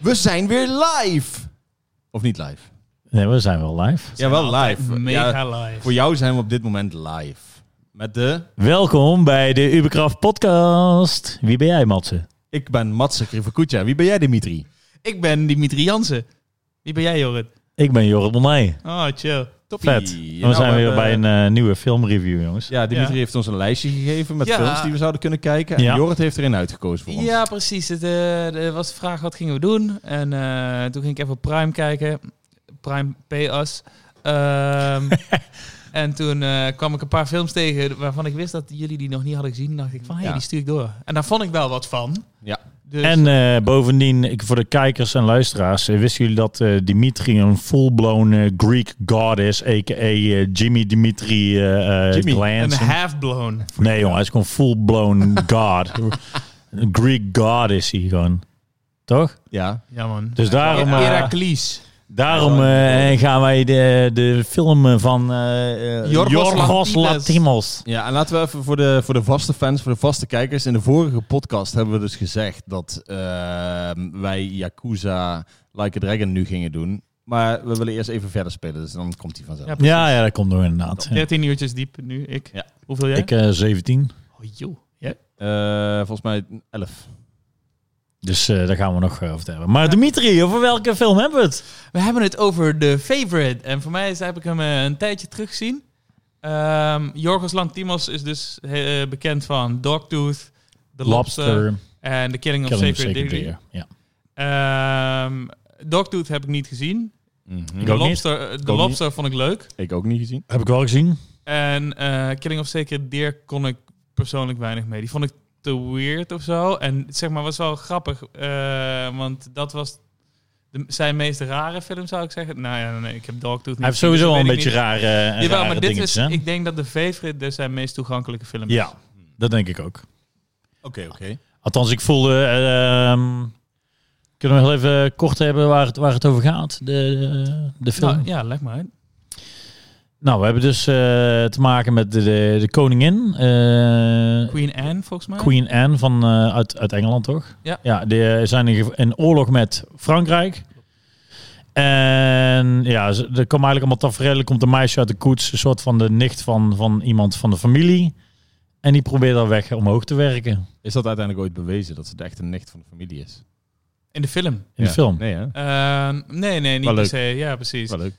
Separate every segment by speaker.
Speaker 1: We zijn weer live! Of niet live?
Speaker 2: Nee, we zijn wel live.
Speaker 1: Ja, wel live.
Speaker 3: Mega
Speaker 1: Ja,
Speaker 3: live.
Speaker 1: voor jou zijn we op dit moment live. Met de...
Speaker 2: Welkom bij de Uberkraft podcast. Wie ben jij, Matze?
Speaker 1: Ik ben Matze Krivakutja. Wie ben jij, Dimitri?
Speaker 3: Ik ben Dimitri Jansen. Wie ben jij, Jorrit?
Speaker 2: Ik ben Jorrit Bonnet.
Speaker 3: Oh, chill.
Speaker 1: Toppie.
Speaker 2: Vet.
Speaker 1: Nou,
Speaker 2: we zijn weer
Speaker 1: hebben-
Speaker 2: bij een eh, nieuwe filmreview, jongens.
Speaker 1: Ja, Dimitri
Speaker 3: Ja.
Speaker 1: heeft ons een lijstje gegeven met
Speaker 3: Ja.
Speaker 1: films die we zouden kunnen kijken. En
Speaker 2: Ja.
Speaker 1: Jorrit heeft er een uitgekozen voor ons.
Speaker 3: Ja, precies. Het eh, er was de vraag, wat gingen we doen? En eh, toen ging ik even op Prime kijken. Prime pay us. Ehm, en toen eh, kwam ik een paar films tegen waarvan ik wist dat jullie die nog niet hadden gezien. dacht ik van, hé,
Speaker 1: Ja.
Speaker 3: hey, die stuur ik door. En daar vond ik wel wat van.
Speaker 1: Ja.
Speaker 3: Dus,
Speaker 2: En eh, bovendien, ik, voor de kijkers en luisteraars, eh, wisten jullie dat eh, Dimitri een full-blown eh, Greek god is, a.k.a. eh, Jimmy Dimitri eh, eh,
Speaker 1: Jimmy,
Speaker 3: een
Speaker 2: Glanson?
Speaker 3: half-blown.
Speaker 2: Nee, jongen, hij is gewoon full-blown god. Een Greek god is hij gewoon. Toch?
Speaker 1: Ja.
Speaker 3: Ja, man.
Speaker 2: Dus daarom... eh,
Speaker 3: Heracles.
Speaker 2: Daarom eh, gaan wij de, de film van eh, eh,
Speaker 3: Jorgos
Speaker 2: Jorgos
Speaker 3: Lanthimos.
Speaker 2: Latimos.
Speaker 1: Ja, en laten we even voor de, voor de vaste fans, voor de vaste kijkers. In de vorige podcast hebben we dus gezegd dat ehm, wij Yakuza Like a Dragon nu gingen doen. Maar we willen eerst even verder spelen, dus dan komt hij vanzelf.
Speaker 3: Ja,
Speaker 2: Ja, ja, dat komt door inderdaad. Ja.
Speaker 3: 13 uurtjes diep nu, ik.
Speaker 1: Ja.
Speaker 3: Hoeveel jij?
Speaker 2: Ik eh 17,
Speaker 3: Oh, joh. Ja.
Speaker 1: Eh, volgens mij 11.
Speaker 2: dus eh, daar gaan we nog eh, over het hebben. Maar Dimitri, over welke film hebben we het?
Speaker 3: We hebben het over The Favorite. En voor mij is, heb ik hem eh, een tijdje teruggezien. Ehm Jorgos Lantimos is dus eh, bekend van Dogtooth, The Lobster,
Speaker 2: eh,
Speaker 3: en The Killing of
Speaker 2: Killing of
Speaker 3: Sacred
Speaker 2: Sacred
Speaker 3: Deer.
Speaker 2: Deer. Ja.
Speaker 3: Ehm Dogtooth heb ik niet gezien.
Speaker 1: Mhm.
Speaker 2: Ik
Speaker 3: The
Speaker 2: ook niet.
Speaker 3: Lobster, eh, The
Speaker 1: ook
Speaker 3: Lobster vond ik leuk.
Speaker 1: Ik ook niet gezien.
Speaker 2: Heb ik wel gezien.
Speaker 3: En eh, Killing of Sacred Deer kon ik persoonlijk weinig mee. Die vond ik te weird of zo. En zeg maar, was wel grappig. eh, want dat was de, zijn meest rare film, zou ik zeggen. Nou ja, nee, ik heb Dogtooth niet
Speaker 2: Hij heeft
Speaker 3: gezien, dus
Speaker 2: sowieso
Speaker 3: dat
Speaker 2: al een
Speaker 3: weet ik
Speaker 2: beetje
Speaker 3: niet.
Speaker 2: rare, eh
Speaker 3: Jawel,
Speaker 2: rare
Speaker 3: maar dit
Speaker 2: dingetjes.
Speaker 3: is,
Speaker 2: hè?
Speaker 3: ik denk dat de Favorite dus zijn meest toegankelijke film is.
Speaker 2: Ja, dat denk ik ook.
Speaker 1: Oké, oké.
Speaker 2: Althans, ik voelde... eh, ehm, kunnen we heel even kort hebben waar het, waar het over gaat? De, de film?
Speaker 3: Nou, ja, leg maar uit.
Speaker 2: Nou, we hebben dus eh, te maken met de, de, de koningin. eh,
Speaker 3: Queen Anne, volgens mij.
Speaker 2: Queen Anne van, eh, uit, uit Engeland, toch?
Speaker 3: Ja.
Speaker 2: Ja, die eh, zijn in, gev- in oorlog met Frankrijk. En ja, ze- er komen eigenlijk allemaal tafereelen. Er komt een meisje uit de koets, een soort van de nicht van, van iemand van de familie. En die probeert haar weg omhoog te werken
Speaker 1: Ah, Is dat uiteindelijk ooit bewezen dat ze de echte nicht van de familie is?
Speaker 3: In de film.
Speaker 2: in de
Speaker 1: Ja.
Speaker 2: film.
Speaker 1: Nee, hè?
Speaker 3: Eh, nee, nee, niet
Speaker 1: Wel
Speaker 3: per
Speaker 1: leuk.
Speaker 3: se. Ja, precies.
Speaker 1: Wel leuk.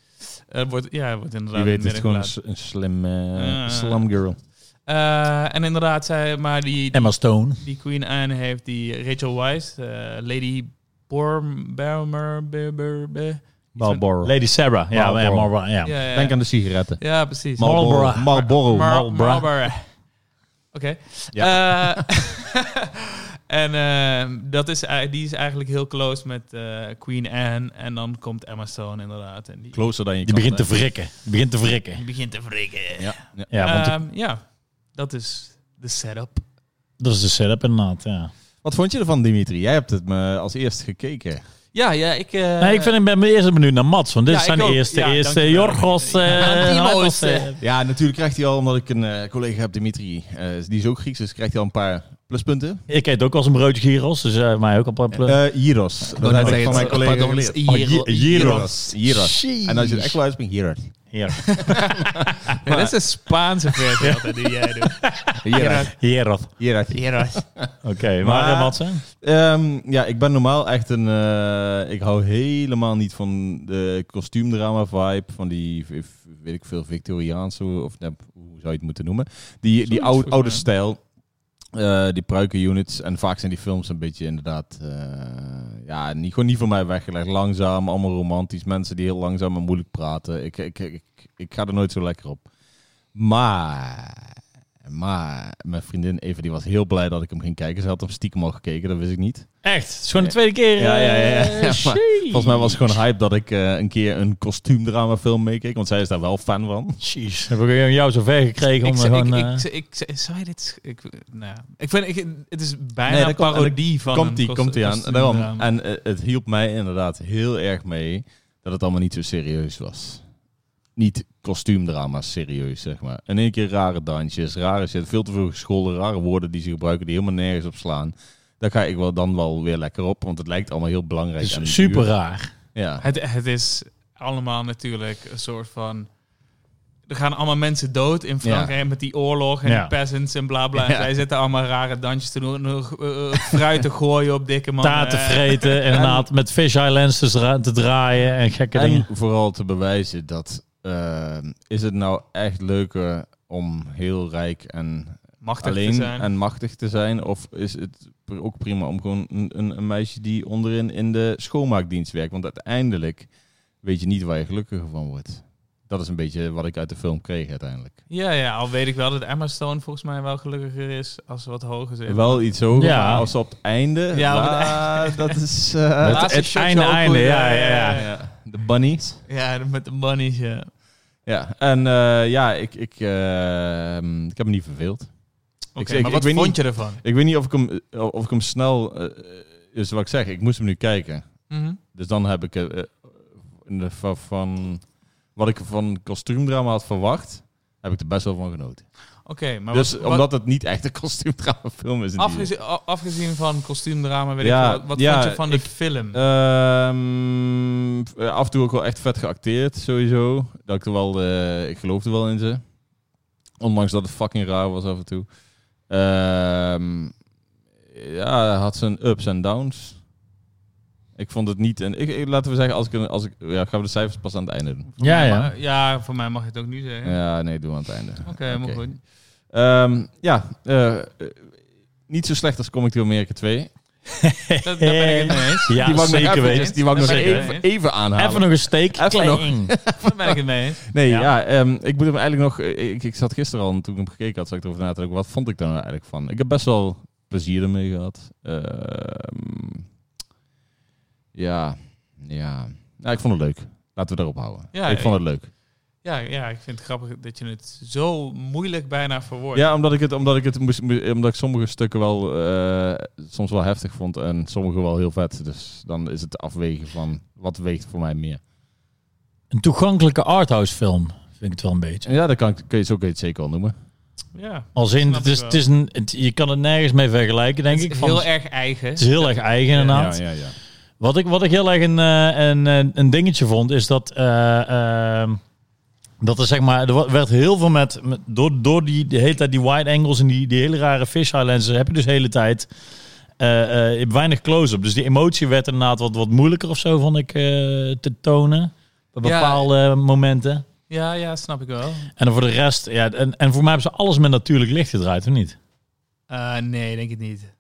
Speaker 3: Eh, wordt, ja, wordt inderdaad...
Speaker 1: Je
Speaker 3: in
Speaker 1: weet,
Speaker 3: het
Speaker 1: het is gewoon een,
Speaker 3: midden
Speaker 1: s- een slim, eh
Speaker 3: Eh.
Speaker 1: slam girl.
Speaker 3: gelaten. Eh, en inderdaad, zij, maar die,
Speaker 2: Emma Stone.
Speaker 3: die Queen Anne heeft die Rachel Weisz, eh, Lady Borm, Barmer, Ber- Ber- Ber-
Speaker 1: Marlboro.
Speaker 2: Lady Sarah. Ja,
Speaker 1: Marlboro.
Speaker 2: ja, Marlboro, ja.
Speaker 3: Ja, ja,
Speaker 1: Denk aan de sigaretten.
Speaker 3: ja, precies.
Speaker 1: Marlboro.
Speaker 2: Marlboro.
Speaker 1: Marlboro.
Speaker 3: Mar-
Speaker 2: Marlboro.
Speaker 3: Marlboro. Oké. Eh, en eh, dat is, ei- die is eigenlijk heel close met eh, Queen Anne. En dan komt Emma Stone inderdaad. En die,
Speaker 1: Closer dan je
Speaker 2: Die
Speaker 1: kan
Speaker 2: begint te
Speaker 1: zijn.
Speaker 2: wrikken. Die begint te wrikken.
Speaker 3: die begint te wrikken.
Speaker 1: Ja, ja.
Speaker 2: Ja, want
Speaker 3: Ehm, ja, dat is de setup.
Speaker 2: dat is de setup inderdaad, ja.
Speaker 1: Wat vond je ervan, Dimitri? Jij hebt het me als eerst gekeken.
Speaker 3: Ja, ja, ik... eh,
Speaker 2: Nee, ik vind, ik ben mijn eerste benieuwd naar Mats, want dit
Speaker 3: Ja,
Speaker 2: zijn
Speaker 3: ik
Speaker 2: de
Speaker 3: ook.
Speaker 2: eerste,
Speaker 3: Ja,
Speaker 2: eerste
Speaker 3: dankjewel.
Speaker 2: Jorgos. eh,
Speaker 3: Ja, Timos,
Speaker 2: Jorgos, eh.
Speaker 3: eh.
Speaker 1: Ja, natuurlijk krijgt hij al, omdat ik een eh, collega heb, Dimitri, eh, die is ook Grieks, dus krijgt hij al een paar pluspunten.
Speaker 2: eh. Ik eet ook als een broodje gyros, dus eh, mij ook al pla- pla-
Speaker 1: Eh Gyros. Dat heb ik van mijn collega geleerd.
Speaker 2: Oh, gy-
Speaker 1: Gyros. Gyros.
Speaker 2: Sheesh.
Speaker 1: En als je het echt wel uitspreekt, Gyros.
Speaker 2: Hier.
Speaker 3: Nee, dat is een Spaanse versie altijd die jij doet.
Speaker 1: Gyros.
Speaker 2: Gyros.
Speaker 1: Gyros.
Speaker 2: Oké, maar,
Speaker 1: Maar-
Speaker 2: eh, Mats, hè?
Speaker 1: Ehm, ja, ik ben normaal echt een. eh, ik hou helemaal niet van de kostuumdrama vibe. Van die, v- v- weet ik veel, Victoriaanse. Of nee, hoe zou je het moeten noemen? Die, die
Speaker 3: Zoiets
Speaker 1: oude,
Speaker 3: volgens
Speaker 1: oude
Speaker 3: mij.
Speaker 1: stijl. eh, die pruikenunits. En vaak zijn die films een beetje inderdaad. eh, ja, niet, gewoon niet voor mij weggelegd. Langzaam, allemaal romantisch. Mensen die heel langzaam en moeilijk praten. Ik, ik, ik, ik, ik ga er nooit zo lekker op. Maar. Maar mijn vriendin Eva die was heel blij dat ik hem ging kijken. Ze had hem stiekem al gekeken, dat wist ik niet.
Speaker 2: Echt, het is gewoon de tweede keer.
Speaker 1: Ja, ja, ja, ja.
Speaker 2: eh,
Speaker 1: Ja, maar
Speaker 2: sheesh.
Speaker 1: Volgens mij was het gewoon hype dat ik eh, een keer een kostuumdrama film meekeek, want zij is daar wel fan van.
Speaker 2: Jeez, heb ik gewoon jou zo ver gekregen om
Speaker 3: Ik,
Speaker 2: me
Speaker 3: zei-
Speaker 2: gewoon...
Speaker 3: ik,
Speaker 2: eh,
Speaker 3: ik, ik, zei- zou je dit... Ik, nou, ik vind, ik, het is bijna
Speaker 1: Nee,
Speaker 3: een
Speaker 1: dat komt-
Speaker 3: parodie van
Speaker 1: komt die,
Speaker 3: een
Speaker 1: komt die aan.
Speaker 3: kost-
Speaker 1: En, daarom,
Speaker 3: kostuumdrama.
Speaker 1: en eh, het hielp mij inderdaad heel erg mee dat het allemaal niet zo serieus was. Niet kostuumdrama serieus, zeg maar. In één keer rare dansjes, rare shit, veel te veel gescholden, rare woorden die ze gebruiken die helemaal nergens op slaan. Daar ga ik wel dan wel weer lekker op, want het lijkt allemaal heel belangrijk.
Speaker 2: Het is
Speaker 1: en
Speaker 2: super
Speaker 1: duur.
Speaker 2: raar.
Speaker 1: Ja.
Speaker 3: Het, het is allemaal natuurlijk een soort van. Er gaan allemaal mensen dood in Frankrijk met die oorlog en
Speaker 2: Ja.
Speaker 3: die peasants en bla bla. En
Speaker 1: Ja.
Speaker 3: zij zitten allemaal rare dansjes te doen, nog, eh, eh, fruit te gooien op dikke mannen.
Speaker 2: Taarten vreten en inderdaad met fisheye lenses dra- te draaien en gekke
Speaker 1: En
Speaker 2: dingen.
Speaker 1: vooral te bewijzen dat eh, is het nou echt leuker om heel rijk en
Speaker 3: Eh, Machtig te
Speaker 1: alleen
Speaker 3: zijn.
Speaker 1: en machtig te zijn? Of is het pr- ook prima om gewoon een, een, een meisje die onderin in de schoonmaakdienst werkt? Want uiteindelijk weet je niet waar je gelukkiger van wordt. Dat is een beetje wat ik uit de film kreeg uiteindelijk.
Speaker 3: Ja, ja, al weet ik wel dat Emma Stone volgens mij wel gelukkiger is als ze wat hoger zit.
Speaker 1: Wel iets hoger,
Speaker 2: Ja.
Speaker 1: maar als op het einde.
Speaker 3: Ja, op het
Speaker 1: ah, dat is. eh,
Speaker 2: Het- het einde- einde, ja, ja, ja.
Speaker 1: ja, de bunnies.
Speaker 3: Ja, met de bunnies, ja.
Speaker 1: Ja, en eh, ja, ik, ik, ehm, ik heb me niet verveeld.
Speaker 3: Oké,
Speaker 1: zeg,
Speaker 3: maar
Speaker 1: ik
Speaker 3: wat
Speaker 1: weet
Speaker 3: vond
Speaker 1: niet-
Speaker 3: je ervan?
Speaker 1: Ik weet niet of ik hem, eh, of ik hem snel. eh, eh, dus wat ik zeg, ik moest hem nu kijken.
Speaker 3: Mhm.
Speaker 1: Dus dan heb ik eh, eh, in de va- van wat ik van kostuumdrama had verwacht, heb ik er best wel van genoten.
Speaker 3: Oké, maar
Speaker 1: dus
Speaker 3: wat, wat-
Speaker 1: omdat het niet echt een kostuumdrama film is. in die zin.
Speaker 3: afgezien, a- afgezien van kostuumdrama, weet
Speaker 1: Ja,
Speaker 3: ik veel, wat, wat
Speaker 1: ja,
Speaker 3: vond je van de
Speaker 1: ik- eh,
Speaker 3: film?
Speaker 1: Ehm, f- eh, af en toe ook wel echt vet geacteerd, sowieso. Dat ik er wel, eh, ik geloofde wel in ze. Ondanks dat het fucking raar was af en toe. Ehm, ja, had zijn ups en downs. Ik vond het niet. En ik, ik- laten we zeggen, als ik, een- als ik, ja, gaan we de cijfers pas aan het einde doen.
Speaker 3: Voor
Speaker 2: Ja,
Speaker 3: mij
Speaker 2: ja.
Speaker 3: ma- ja, voor mij mag je het ook nu zeggen.
Speaker 1: Ja, nee, doen we aan het einde.
Speaker 3: Oké, maar
Speaker 1: Oké.
Speaker 3: goed.
Speaker 1: Ehm, ja, eh, eh, niet zo slecht als Comic to America 2.
Speaker 3: Dat, daar ben ik het mee
Speaker 2: Ja,
Speaker 3: eens.
Speaker 1: die wou ik nog
Speaker 2: zeker
Speaker 1: even-
Speaker 2: weten.
Speaker 1: Die wou ik nog
Speaker 2: Zeker
Speaker 1: even,
Speaker 3: weten.
Speaker 1: even aanhalen.
Speaker 2: Even nog een steek.
Speaker 1: Even
Speaker 2: Kling.
Speaker 3: Daar ben ik het mee eens.
Speaker 1: Nee,
Speaker 2: Ja.
Speaker 1: ja, ehm, ik moet hem eigenlijk nog... eh, Ik, ik zat gisteren al, en toen ik hem gekeken had, zat ik erover na te denken. Wat vond ik daar nou eigenlijk van? Ik heb best wel plezier ermee gehad. Ehm, ja, ja. Nou, ik vond het leuk. Laten we daarop houden.
Speaker 3: Ja,
Speaker 1: ik
Speaker 3: ik-
Speaker 1: vond het leuk.
Speaker 3: Ja, ja, ik vind het grappig dat je het zo moeilijk bijna verwoordt.
Speaker 1: Ja, omdat ik het, omdat ik het moest, moest- omdat ik sommige stukken wel eh, soms wel heftig vond en sommige wel heel vet. Dus dan is het afwegen van wat weegt voor mij meer.
Speaker 2: Een toegankelijke arthouse film, vind ik het wel een beetje.
Speaker 1: Ja, dat kan, ik- kun je, zo kun je het zeker al noemen.
Speaker 3: Ja.
Speaker 2: Als in,
Speaker 3: Snap
Speaker 2: het
Speaker 3: ik
Speaker 2: is,
Speaker 3: wel.
Speaker 2: het is een, het- je kan het nergens mee vergelijken, denk
Speaker 3: Het
Speaker 2: ik.
Speaker 3: is
Speaker 2: Van,
Speaker 3: heel erg eigen.
Speaker 2: het is heel erg eigen, inderdaad.
Speaker 1: ja, ja.
Speaker 2: Wat, ik, wat ik heel erg een, eh, een, een, een dingetje vond, is dat, eh, ehm, dat er, zeg maar, er wa- werd heel veel met, met- door, door die de hele tijd die wide angles en die, die hele rare fisheye lenses, heb je dus de hele tijd eh, eh, je hebt weinig close-up. Dus die emotie werd inderdaad wat, wat moeilijker of zo, vond ik, eh, te tonen. Bij
Speaker 3: Ja.
Speaker 2: bepaalde momenten.
Speaker 3: Ja, ja, snap ik wel.
Speaker 2: En dan voor de rest, ja, en, en voor mij hebben ze alles met natuurlijk licht gedraaid, of niet?
Speaker 3: Eh, nee, denk ik niet.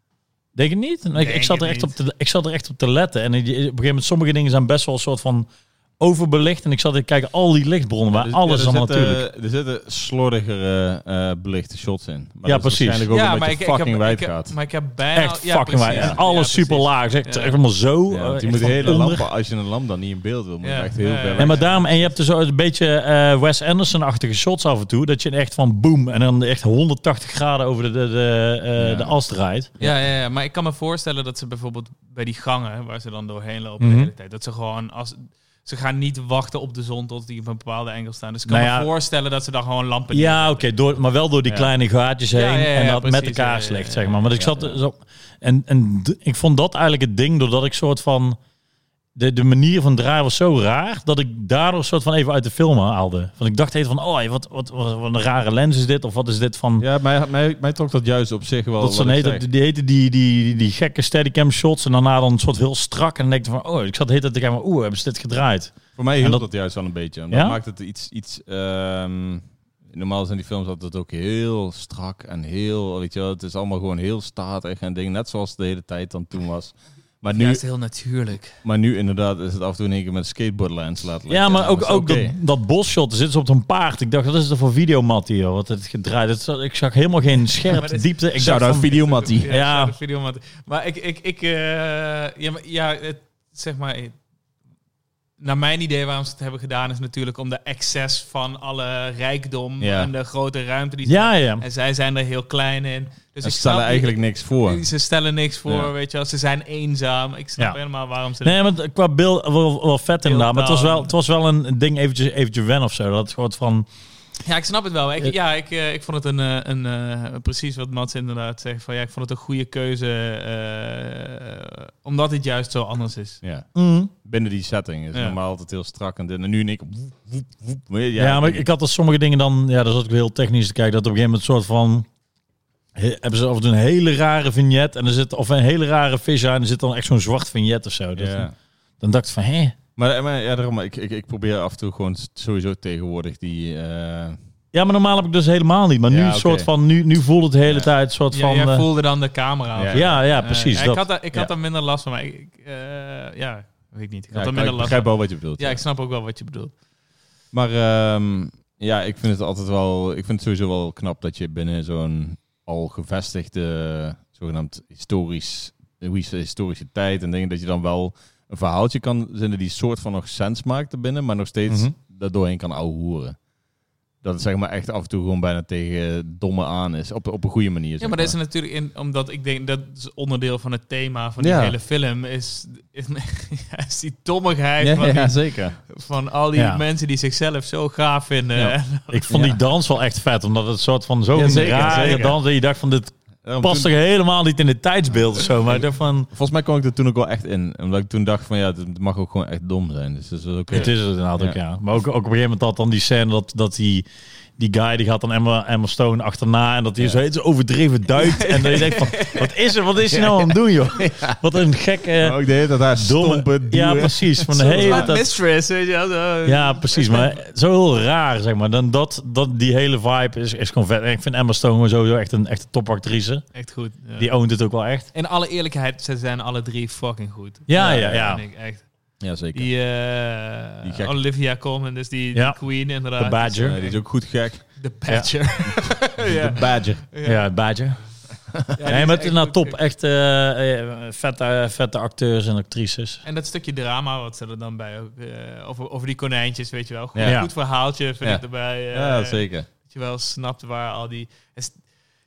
Speaker 2: Denk je niet? Nou, Ik, ik,
Speaker 3: Denk
Speaker 2: zat er
Speaker 3: het
Speaker 2: echt op
Speaker 3: niet.
Speaker 2: te, ik zat er echt op te letten. En je- op een gegeven moment, sommige dingen zijn best wel een soort van overbelicht. En ik zat te kijken, al die lichtbronnen, waar
Speaker 1: Dus-
Speaker 2: alles
Speaker 1: ja,
Speaker 2: is
Speaker 1: er
Speaker 2: allemaal
Speaker 1: zitten-
Speaker 2: natuurlijk.
Speaker 1: Er zitten slordigere eh, belichte shots in. Maar dat
Speaker 2: Ja,
Speaker 1: is
Speaker 2: precies.
Speaker 1: Waarschijnlijk ook
Speaker 3: ja,
Speaker 1: omdat je fucking wijd gaat.
Speaker 3: maar ik heb bijna...
Speaker 2: Echt
Speaker 3: ja,
Speaker 2: fucking waar.
Speaker 3: precies.
Speaker 2: En alles
Speaker 3: Ja,
Speaker 2: super
Speaker 3: precies.
Speaker 2: laag. Echt,
Speaker 3: Ja.
Speaker 2: echt allemaal zo.
Speaker 1: Ja,
Speaker 2: eh,
Speaker 1: want je
Speaker 2: echt
Speaker 1: moet
Speaker 2: van
Speaker 1: hele
Speaker 2: onder.
Speaker 1: lampen, als je een lamp dan niet in beeld wil, moet je
Speaker 3: Ja.
Speaker 1: echt heel
Speaker 3: Ja,
Speaker 1: ver
Speaker 3: ja.
Speaker 2: Nee,
Speaker 1: weg
Speaker 2: maar
Speaker 1: zijn.
Speaker 2: daarom, en je hebt dus zo een beetje eh, Wes Anderson-achtige shots af en toe. Dat je echt van boom en dan echt 180 graden over de, de, de, eh,
Speaker 1: Ja.
Speaker 2: de as draait.
Speaker 3: Ja, ja, ja, maar ik kan me voorstellen dat ze bijvoorbeeld bij die gangen waar ze dan doorheen lopen
Speaker 2: Mhm.
Speaker 3: de hele tijd, dat ze gewoon als ze gaan niet wachten op de zon tot die op een bepaalde engel staan. Dus ik kan
Speaker 2: Nou ja.
Speaker 3: me voorstellen dat ze daar gewoon lampen
Speaker 2: Ja, oké, door- maar wel door die
Speaker 1: Ja.
Speaker 2: kleine gaatjes heen
Speaker 3: ja, ja,
Speaker 2: en dat met
Speaker 3: precies, ja,
Speaker 2: elkaar
Speaker 3: ja,
Speaker 2: slecht,
Speaker 3: ja,
Speaker 2: zeg maar. Maar ik
Speaker 1: ja,
Speaker 2: zat
Speaker 1: ja.
Speaker 2: zo en, en d- ik vond dat eigenlijk het ding, doordat ik soort van de, de manier van draaien was zo raar dat ik daardoor soort van even uit de film haalde. Want ik dacht even van, oh, wat, wat, wat, wat een rare lens is dit of wat is dit van?
Speaker 1: Ja, mij, mij, mij trok dat juist op zich wel.
Speaker 2: dat
Speaker 1: wat
Speaker 2: ze
Speaker 1: ik zeg.
Speaker 2: heette, die, die, heette die, die, die, die gekke steadicam shots en daarna dan een soort heel strak en dan denk ik van, oh, ik zat de hele tijd te kijken, van, oeh, hebben ze dit gedraaid?
Speaker 1: Voor mij hield
Speaker 2: dat-
Speaker 1: dat, juist wel een beetje. omdat
Speaker 2: Ja?
Speaker 1: maakt het iets... iets ehm, normaal zijn die films altijd ook heel strak en heel... Weet je wel, het is allemaal gewoon heel statig en dingen. Net zoals de hele tijd dan toen was. Maar nu,
Speaker 3: Ja, is heel natuurlijk.
Speaker 1: maar nu inderdaad is het af en toe in één keer met skateboardlens laten
Speaker 2: Ja,
Speaker 1: liggen.
Speaker 2: maar
Speaker 1: En dan
Speaker 2: ook,
Speaker 1: is het
Speaker 2: ook dat,
Speaker 1: oké.
Speaker 2: dat bosshot. Er zit ze op een paard. Ik dacht, dat is er voor videomat hier? Wat het gedraaid. Het, zat- ik zag helemaal geen
Speaker 3: maar
Speaker 2: scherp
Speaker 3: dat is-
Speaker 2: diepte. Ik dacht
Speaker 1: Shout-out
Speaker 2: van,
Speaker 1: Videomattie.
Speaker 3: Ja,
Speaker 2: Ja.
Speaker 3: de video, maar, maar ik, ik, ik, eh, ja, maar- ja, het, zeg maar, eh, naar mijn idee waarom ze het hebben gedaan is natuurlijk om de excess van alle rijkdom
Speaker 1: Ja.
Speaker 3: en de grote ruimte die ze
Speaker 2: ja, ja.
Speaker 3: En zij zijn er heel klein in. Dus
Speaker 1: Ze
Speaker 3: ik
Speaker 1: stellen
Speaker 3: snap-
Speaker 1: eigenlijk niks voor.
Speaker 3: Ze stellen niks voor,
Speaker 1: Ja.
Speaker 3: weet je wel. Ze zijn eenzaam. Ik snap
Speaker 2: Ja.
Speaker 3: helemaal waarom ze...
Speaker 2: Nee, maar qua beeld wel, wel vet inderdaad. Maar het was
Speaker 3: Beeldtaal.
Speaker 2: wel, het was wel een ding eventjes, eventjes wennen of zo. Dat soort van...
Speaker 3: Ja, ik snap het wel. Ik,
Speaker 2: Het-
Speaker 3: ja, ik, eh, ik vond het een, eh, een eh, precies wat Mats inderdaad zegt. Van, ja, ik vond het een goede keuze, eh, omdat het juist zo anders is.
Speaker 1: Ja.
Speaker 2: Mm.
Speaker 1: Binnen die setting is
Speaker 3: Ja.
Speaker 1: normaal altijd heel strak en dit. En nu in ik... woep, woep, woep, weet je,
Speaker 2: Ja, maar ik, ik had er sommige dingen dan... Ja, daar zat ik heel technisch te kijken. Dat op een gegeven moment soort van... he- hebben ze af en toe een hele rare vignet en er zit of een hele rare vis aan en er zit dan echt zo'n zwart vignet of zo. Dat,
Speaker 1: Ja.
Speaker 2: Dan dacht ik van, hé?
Speaker 1: Maar, eh, maar ja, daarom, ik, ik, ik probeer af en toe gewoon sowieso tegenwoordig die... eh,
Speaker 2: Ja, maar normaal heb ik dus helemaal niet. Maar nu
Speaker 1: Ja,
Speaker 2: een soort
Speaker 1: oké.
Speaker 2: van, nu, nu voelt het de hele
Speaker 1: Ja.
Speaker 2: tijd soort
Speaker 3: Ja,
Speaker 2: van...
Speaker 3: jij
Speaker 2: eh,
Speaker 3: voelde dan de camera.
Speaker 1: Ja.
Speaker 3: of-
Speaker 2: ja, ja,
Speaker 3: Eh,
Speaker 2: precies.
Speaker 3: ja,
Speaker 2: dat.
Speaker 3: ik had, daar, ik
Speaker 2: ja.
Speaker 3: had daar minder last van, maar ik, ik, eh, ja, weet ik niet. Ik
Speaker 1: ja,
Speaker 3: had daar
Speaker 1: ik,
Speaker 3: minder
Speaker 1: ik
Speaker 3: last
Speaker 1: begrijp
Speaker 3: van.
Speaker 1: wel wat je bedoelt.
Speaker 3: Ja, ik snap ook wel wat je bedoelt.
Speaker 1: Maar ehm, ja, ik vind het altijd wel. Ik vind het sowieso wel knap dat je binnen zo'n al gevestigde, zogenaamd historisch, historische tijd en dingen, dat je dan wel een verhaaltje kan zinnen die soort van nog sens maakt erbinnen, maar nog steeds
Speaker 2: Mhm.
Speaker 1: daar doorheen kan ouwehoeren. Dat het zeg maar echt af en toe gewoon bijna tegen domme aan is. Op, op een goede manier.
Speaker 3: Ja,
Speaker 1: zeg
Speaker 3: maar dat is natuurlijk in, omdat ik denk dat is onderdeel van het thema van die
Speaker 1: Ja.
Speaker 3: hele film is, is, is die dommigheid
Speaker 1: Ja, ja,
Speaker 3: van, die-
Speaker 1: zeker.
Speaker 3: van al die
Speaker 2: Ja.
Speaker 3: mensen die zichzelf zo gaaf vinden.
Speaker 1: Ja.
Speaker 3: En
Speaker 2: Ik vond die
Speaker 1: Ja.
Speaker 2: dans wel echt vet, omdat het soort van zo'n
Speaker 1: Ja, zeker,
Speaker 2: rare
Speaker 1: zeker.
Speaker 2: dans dat je dacht van dit
Speaker 1: Daarom
Speaker 2: past
Speaker 1: toen-
Speaker 2: toch helemaal niet in het tijdsbeeld of zo, maar ik dacht van
Speaker 1: volgens mij kwam ik er toen ook wel echt in. Omdat ik toen dacht van ja, het mag ook gewoon echt dom zijn. Dus dat is ook
Speaker 2: het is het inderdaad ook ja. Maar ook, ook op een gegeven moment had dan die scène dat, dat die, die guy die gaat dan Emma, Emma Stone achterna en dat hij
Speaker 1: Ja.
Speaker 2: zo heet zo overdreven duikt en dan je denkt van wat is er, wat is hij nou aan het doen joh? Wat een gekke
Speaker 1: ook de hele tijd haar
Speaker 2: domme.
Speaker 1: stompen,
Speaker 2: Ja
Speaker 1: duwen.
Speaker 2: precies, van de
Speaker 1: Zo
Speaker 2: hele
Speaker 1: raar.
Speaker 2: tijd.
Speaker 3: mistress, weet je wel, zo.
Speaker 2: Ja, precies. Maar zo heel raar, zeg maar. Dan dat, dat, die hele vibe is, is gewoon vet. En ik vind Emma Stone gewoon sowieso echt een, echt een topactrice.
Speaker 3: Echt goed. ja.
Speaker 2: Die owned het ook wel echt.
Speaker 3: In alle eerlijkheid, ze zijn alle drie fucking goed.
Speaker 2: Ja, ja, ja.
Speaker 3: vind ik echt.
Speaker 1: Ja, zeker.
Speaker 3: Die, eh,
Speaker 1: Die gek-
Speaker 3: Olivia Colman, dus die, die
Speaker 2: Ja.
Speaker 3: queen inderdaad. Dus, eh,
Speaker 2: De Badger.
Speaker 1: Ja, die is ook goed gek.
Speaker 3: De Badger. Ja. ja.
Speaker 1: De badger.
Speaker 2: Ja, het baadje.
Speaker 3: die
Speaker 2: nee,
Speaker 3: is
Speaker 2: maar het
Speaker 3: echt
Speaker 2: is nou
Speaker 3: goed.
Speaker 2: top. Echt eh, eh, vette, vette acteurs en actrices.
Speaker 3: En dat stukje drama wat ze er dan bij ook... eh, over, over die konijntjes, weet je wel. Goed,
Speaker 2: Ja.
Speaker 3: goed verhaaltje vind
Speaker 1: Ja.
Speaker 3: ik erbij. eh,
Speaker 1: Ja, zeker.
Speaker 3: Dat je wel snapt waar al die... is-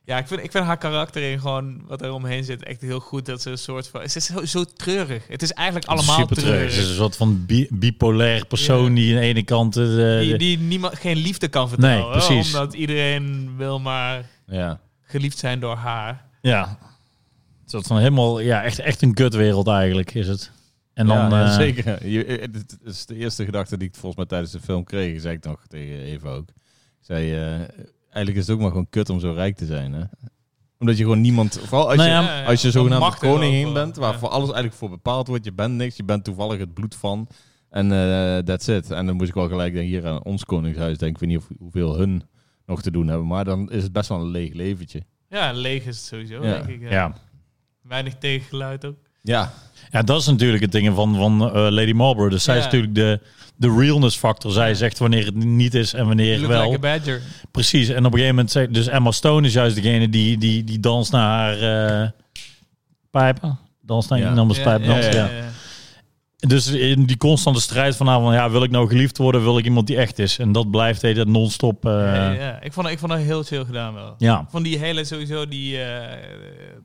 Speaker 3: Ja, ik vind, ik vind haar karakter in gewoon wat er omheen zit echt heel goed. Dat ze een soort van... Het is zo, zo treurig. Het is eigenlijk allemaal
Speaker 2: Super
Speaker 3: treurig.
Speaker 2: Het is een soort van bi- bipolair persoon
Speaker 3: Ja.
Speaker 2: die aan de ene kant... eh, de-
Speaker 3: die, die niemand, geen liefde kan vertrouwen.
Speaker 2: Nee, precies.
Speaker 3: Omdat iedereen wil maar
Speaker 1: Ja.
Speaker 3: geliefd zijn door haar.
Speaker 2: ja. Een soort van helemaal... Ja, echt, echt een kutwereld eigenlijk is het. En dan...
Speaker 1: ja, ja,
Speaker 2: eh,
Speaker 1: zeker. Je, het het is de eerste gedachte die ik volgens mij tijdens de film kreeg, zei ik nog tegen Eva ook. Ik zei, eh, eigenlijk is het ook maar gewoon kut om zo rijk te zijn, hè? Omdat je gewoon niemand... Vooral als
Speaker 2: Nou
Speaker 1: je,
Speaker 2: ja,
Speaker 1: als je
Speaker 3: dan
Speaker 1: zogenaamd
Speaker 3: mag er ook
Speaker 1: koningin
Speaker 3: wel,
Speaker 1: bent, waar
Speaker 3: ja.
Speaker 1: voor alles eigenlijk voor bepaald wordt. Je bent niks, je bent toevallig het bloed van. En eh that's it. En dan moest ik wel gelijk denken, hier aan ons koningshuis, denk ik, weet niet of, hoeveel hun nog te doen hebben. Maar dan is het best wel een leeg leventje.
Speaker 3: Ja, leeg is het sowieso,
Speaker 1: Ja.
Speaker 3: denk ik. ja.
Speaker 2: ja.
Speaker 3: Weinig tegengeluid ook.
Speaker 1: Ja,
Speaker 2: Ja, dat is natuurlijk het ding van, van eh, Lady Marlborough. Dus zij
Speaker 3: Ja.
Speaker 2: is natuurlijk de, de realness factor. Zij zegt wanneer het niet is en wanneer
Speaker 3: You
Speaker 2: het
Speaker 3: look
Speaker 2: wel.
Speaker 3: like a badger.
Speaker 2: Precies. En op een gegeven moment zegt... Dus Emma Stone is juist degene die, die, die danst naar haar eh, pijpen. Danst naar
Speaker 1: Ja.
Speaker 2: iemand anders
Speaker 3: Oh. Ja,
Speaker 2: pijpen.
Speaker 3: ja,
Speaker 2: danst, ja.
Speaker 3: ja, ja.
Speaker 2: Dus in die constante strijd van... Nou, van ja, wil ik nou geliefd worden? Wil ik iemand die echt is? En dat blijft de hele tijd non-stop. eh,
Speaker 3: Ja,
Speaker 2: ja.
Speaker 3: ja. Ik, vond, ik vond dat heel chill gedaan wel.
Speaker 2: Ja.
Speaker 3: Van die hele sowieso, die, eh,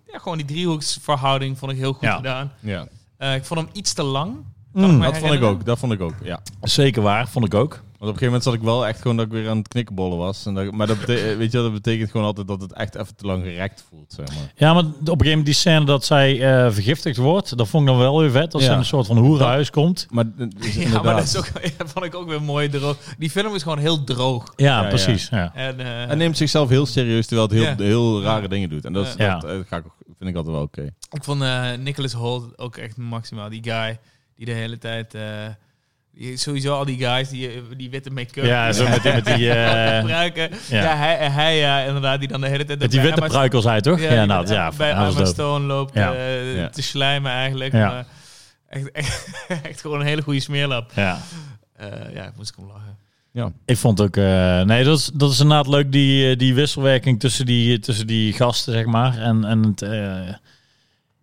Speaker 3: ja, gewoon die driehoeksverhouding vond ik heel goed
Speaker 2: Ja.
Speaker 3: gedaan.
Speaker 1: ja.
Speaker 3: Eh, ik vond hem iets te lang.
Speaker 2: Mm,
Speaker 3: me
Speaker 1: dat vond ik
Speaker 3: herinneren.
Speaker 1: ook. Dat vond ik ook, ja.
Speaker 2: Zeker waar, vond ik ook.
Speaker 1: Want op een gegeven moment zat ik wel echt gewoon dat ik weer aan het knikkenbollen was. En dat, maar dat, bete- weet je, wel, dat betekent gewoon altijd dat het echt even te lang gerekt voelt, zeg maar.
Speaker 2: Ja, maar op een gegeven moment die scène dat zij eh, vergiftigd wordt... Dat vond ik dan wel weer vet. Als
Speaker 1: Ja.
Speaker 2: ze in een soort van hoerenhuis komt.
Speaker 1: Maar, eh, dus
Speaker 3: Ja,
Speaker 1: inderdaad.
Speaker 3: maar dat is ook, ja, vond ik ook weer mooi droog. Die film is gewoon heel droog.
Speaker 2: Ja,
Speaker 1: Ja,
Speaker 2: precies. Ja.
Speaker 3: En, eh,
Speaker 1: Hij neemt zichzelf heel serieus, terwijl het heel,
Speaker 3: Ja.
Speaker 1: heel rare dingen doet. En dat, is-
Speaker 2: Ja.
Speaker 1: dat eh, ga ik, ook- vind ik altijd wel oké.
Speaker 3: Ik vond eh, Nicholas Holt ook echt maximaal. Die guy die de hele tijd... eh, die- sowieso al die guys die, eh, die witte make-up
Speaker 2: Ja, zo met, die- met die, eh,
Speaker 3: gebruiken.
Speaker 2: ja.
Speaker 3: Ja, hij, hij ja, inderdaad, die dan de hele tijd...
Speaker 2: met die
Speaker 3: bij
Speaker 2: witte
Speaker 3: Emma-
Speaker 2: pruik was hij toch? Ja,
Speaker 3: die
Speaker 2: nou,
Speaker 3: bij-
Speaker 2: ja,
Speaker 3: bij
Speaker 2: hij was
Speaker 3: Emma
Speaker 2: dope.
Speaker 3: Stone loopt
Speaker 2: Ja.
Speaker 3: eh,
Speaker 1: Ja.
Speaker 3: te slijmen eigenlijk.
Speaker 2: Ja.
Speaker 3: Maar echt, echt, echt gewoon een hele goede smeerlap.
Speaker 2: Ja.
Speaker 3: Eh, ja, moest ik om lachen.
Speaker 2: Ik vond ook... eh, nee, dat is, dat is inderdaad leuk, die, eh, die wisselwerking tussen die, tussen die gasten, zeg maar. En, en het... eh,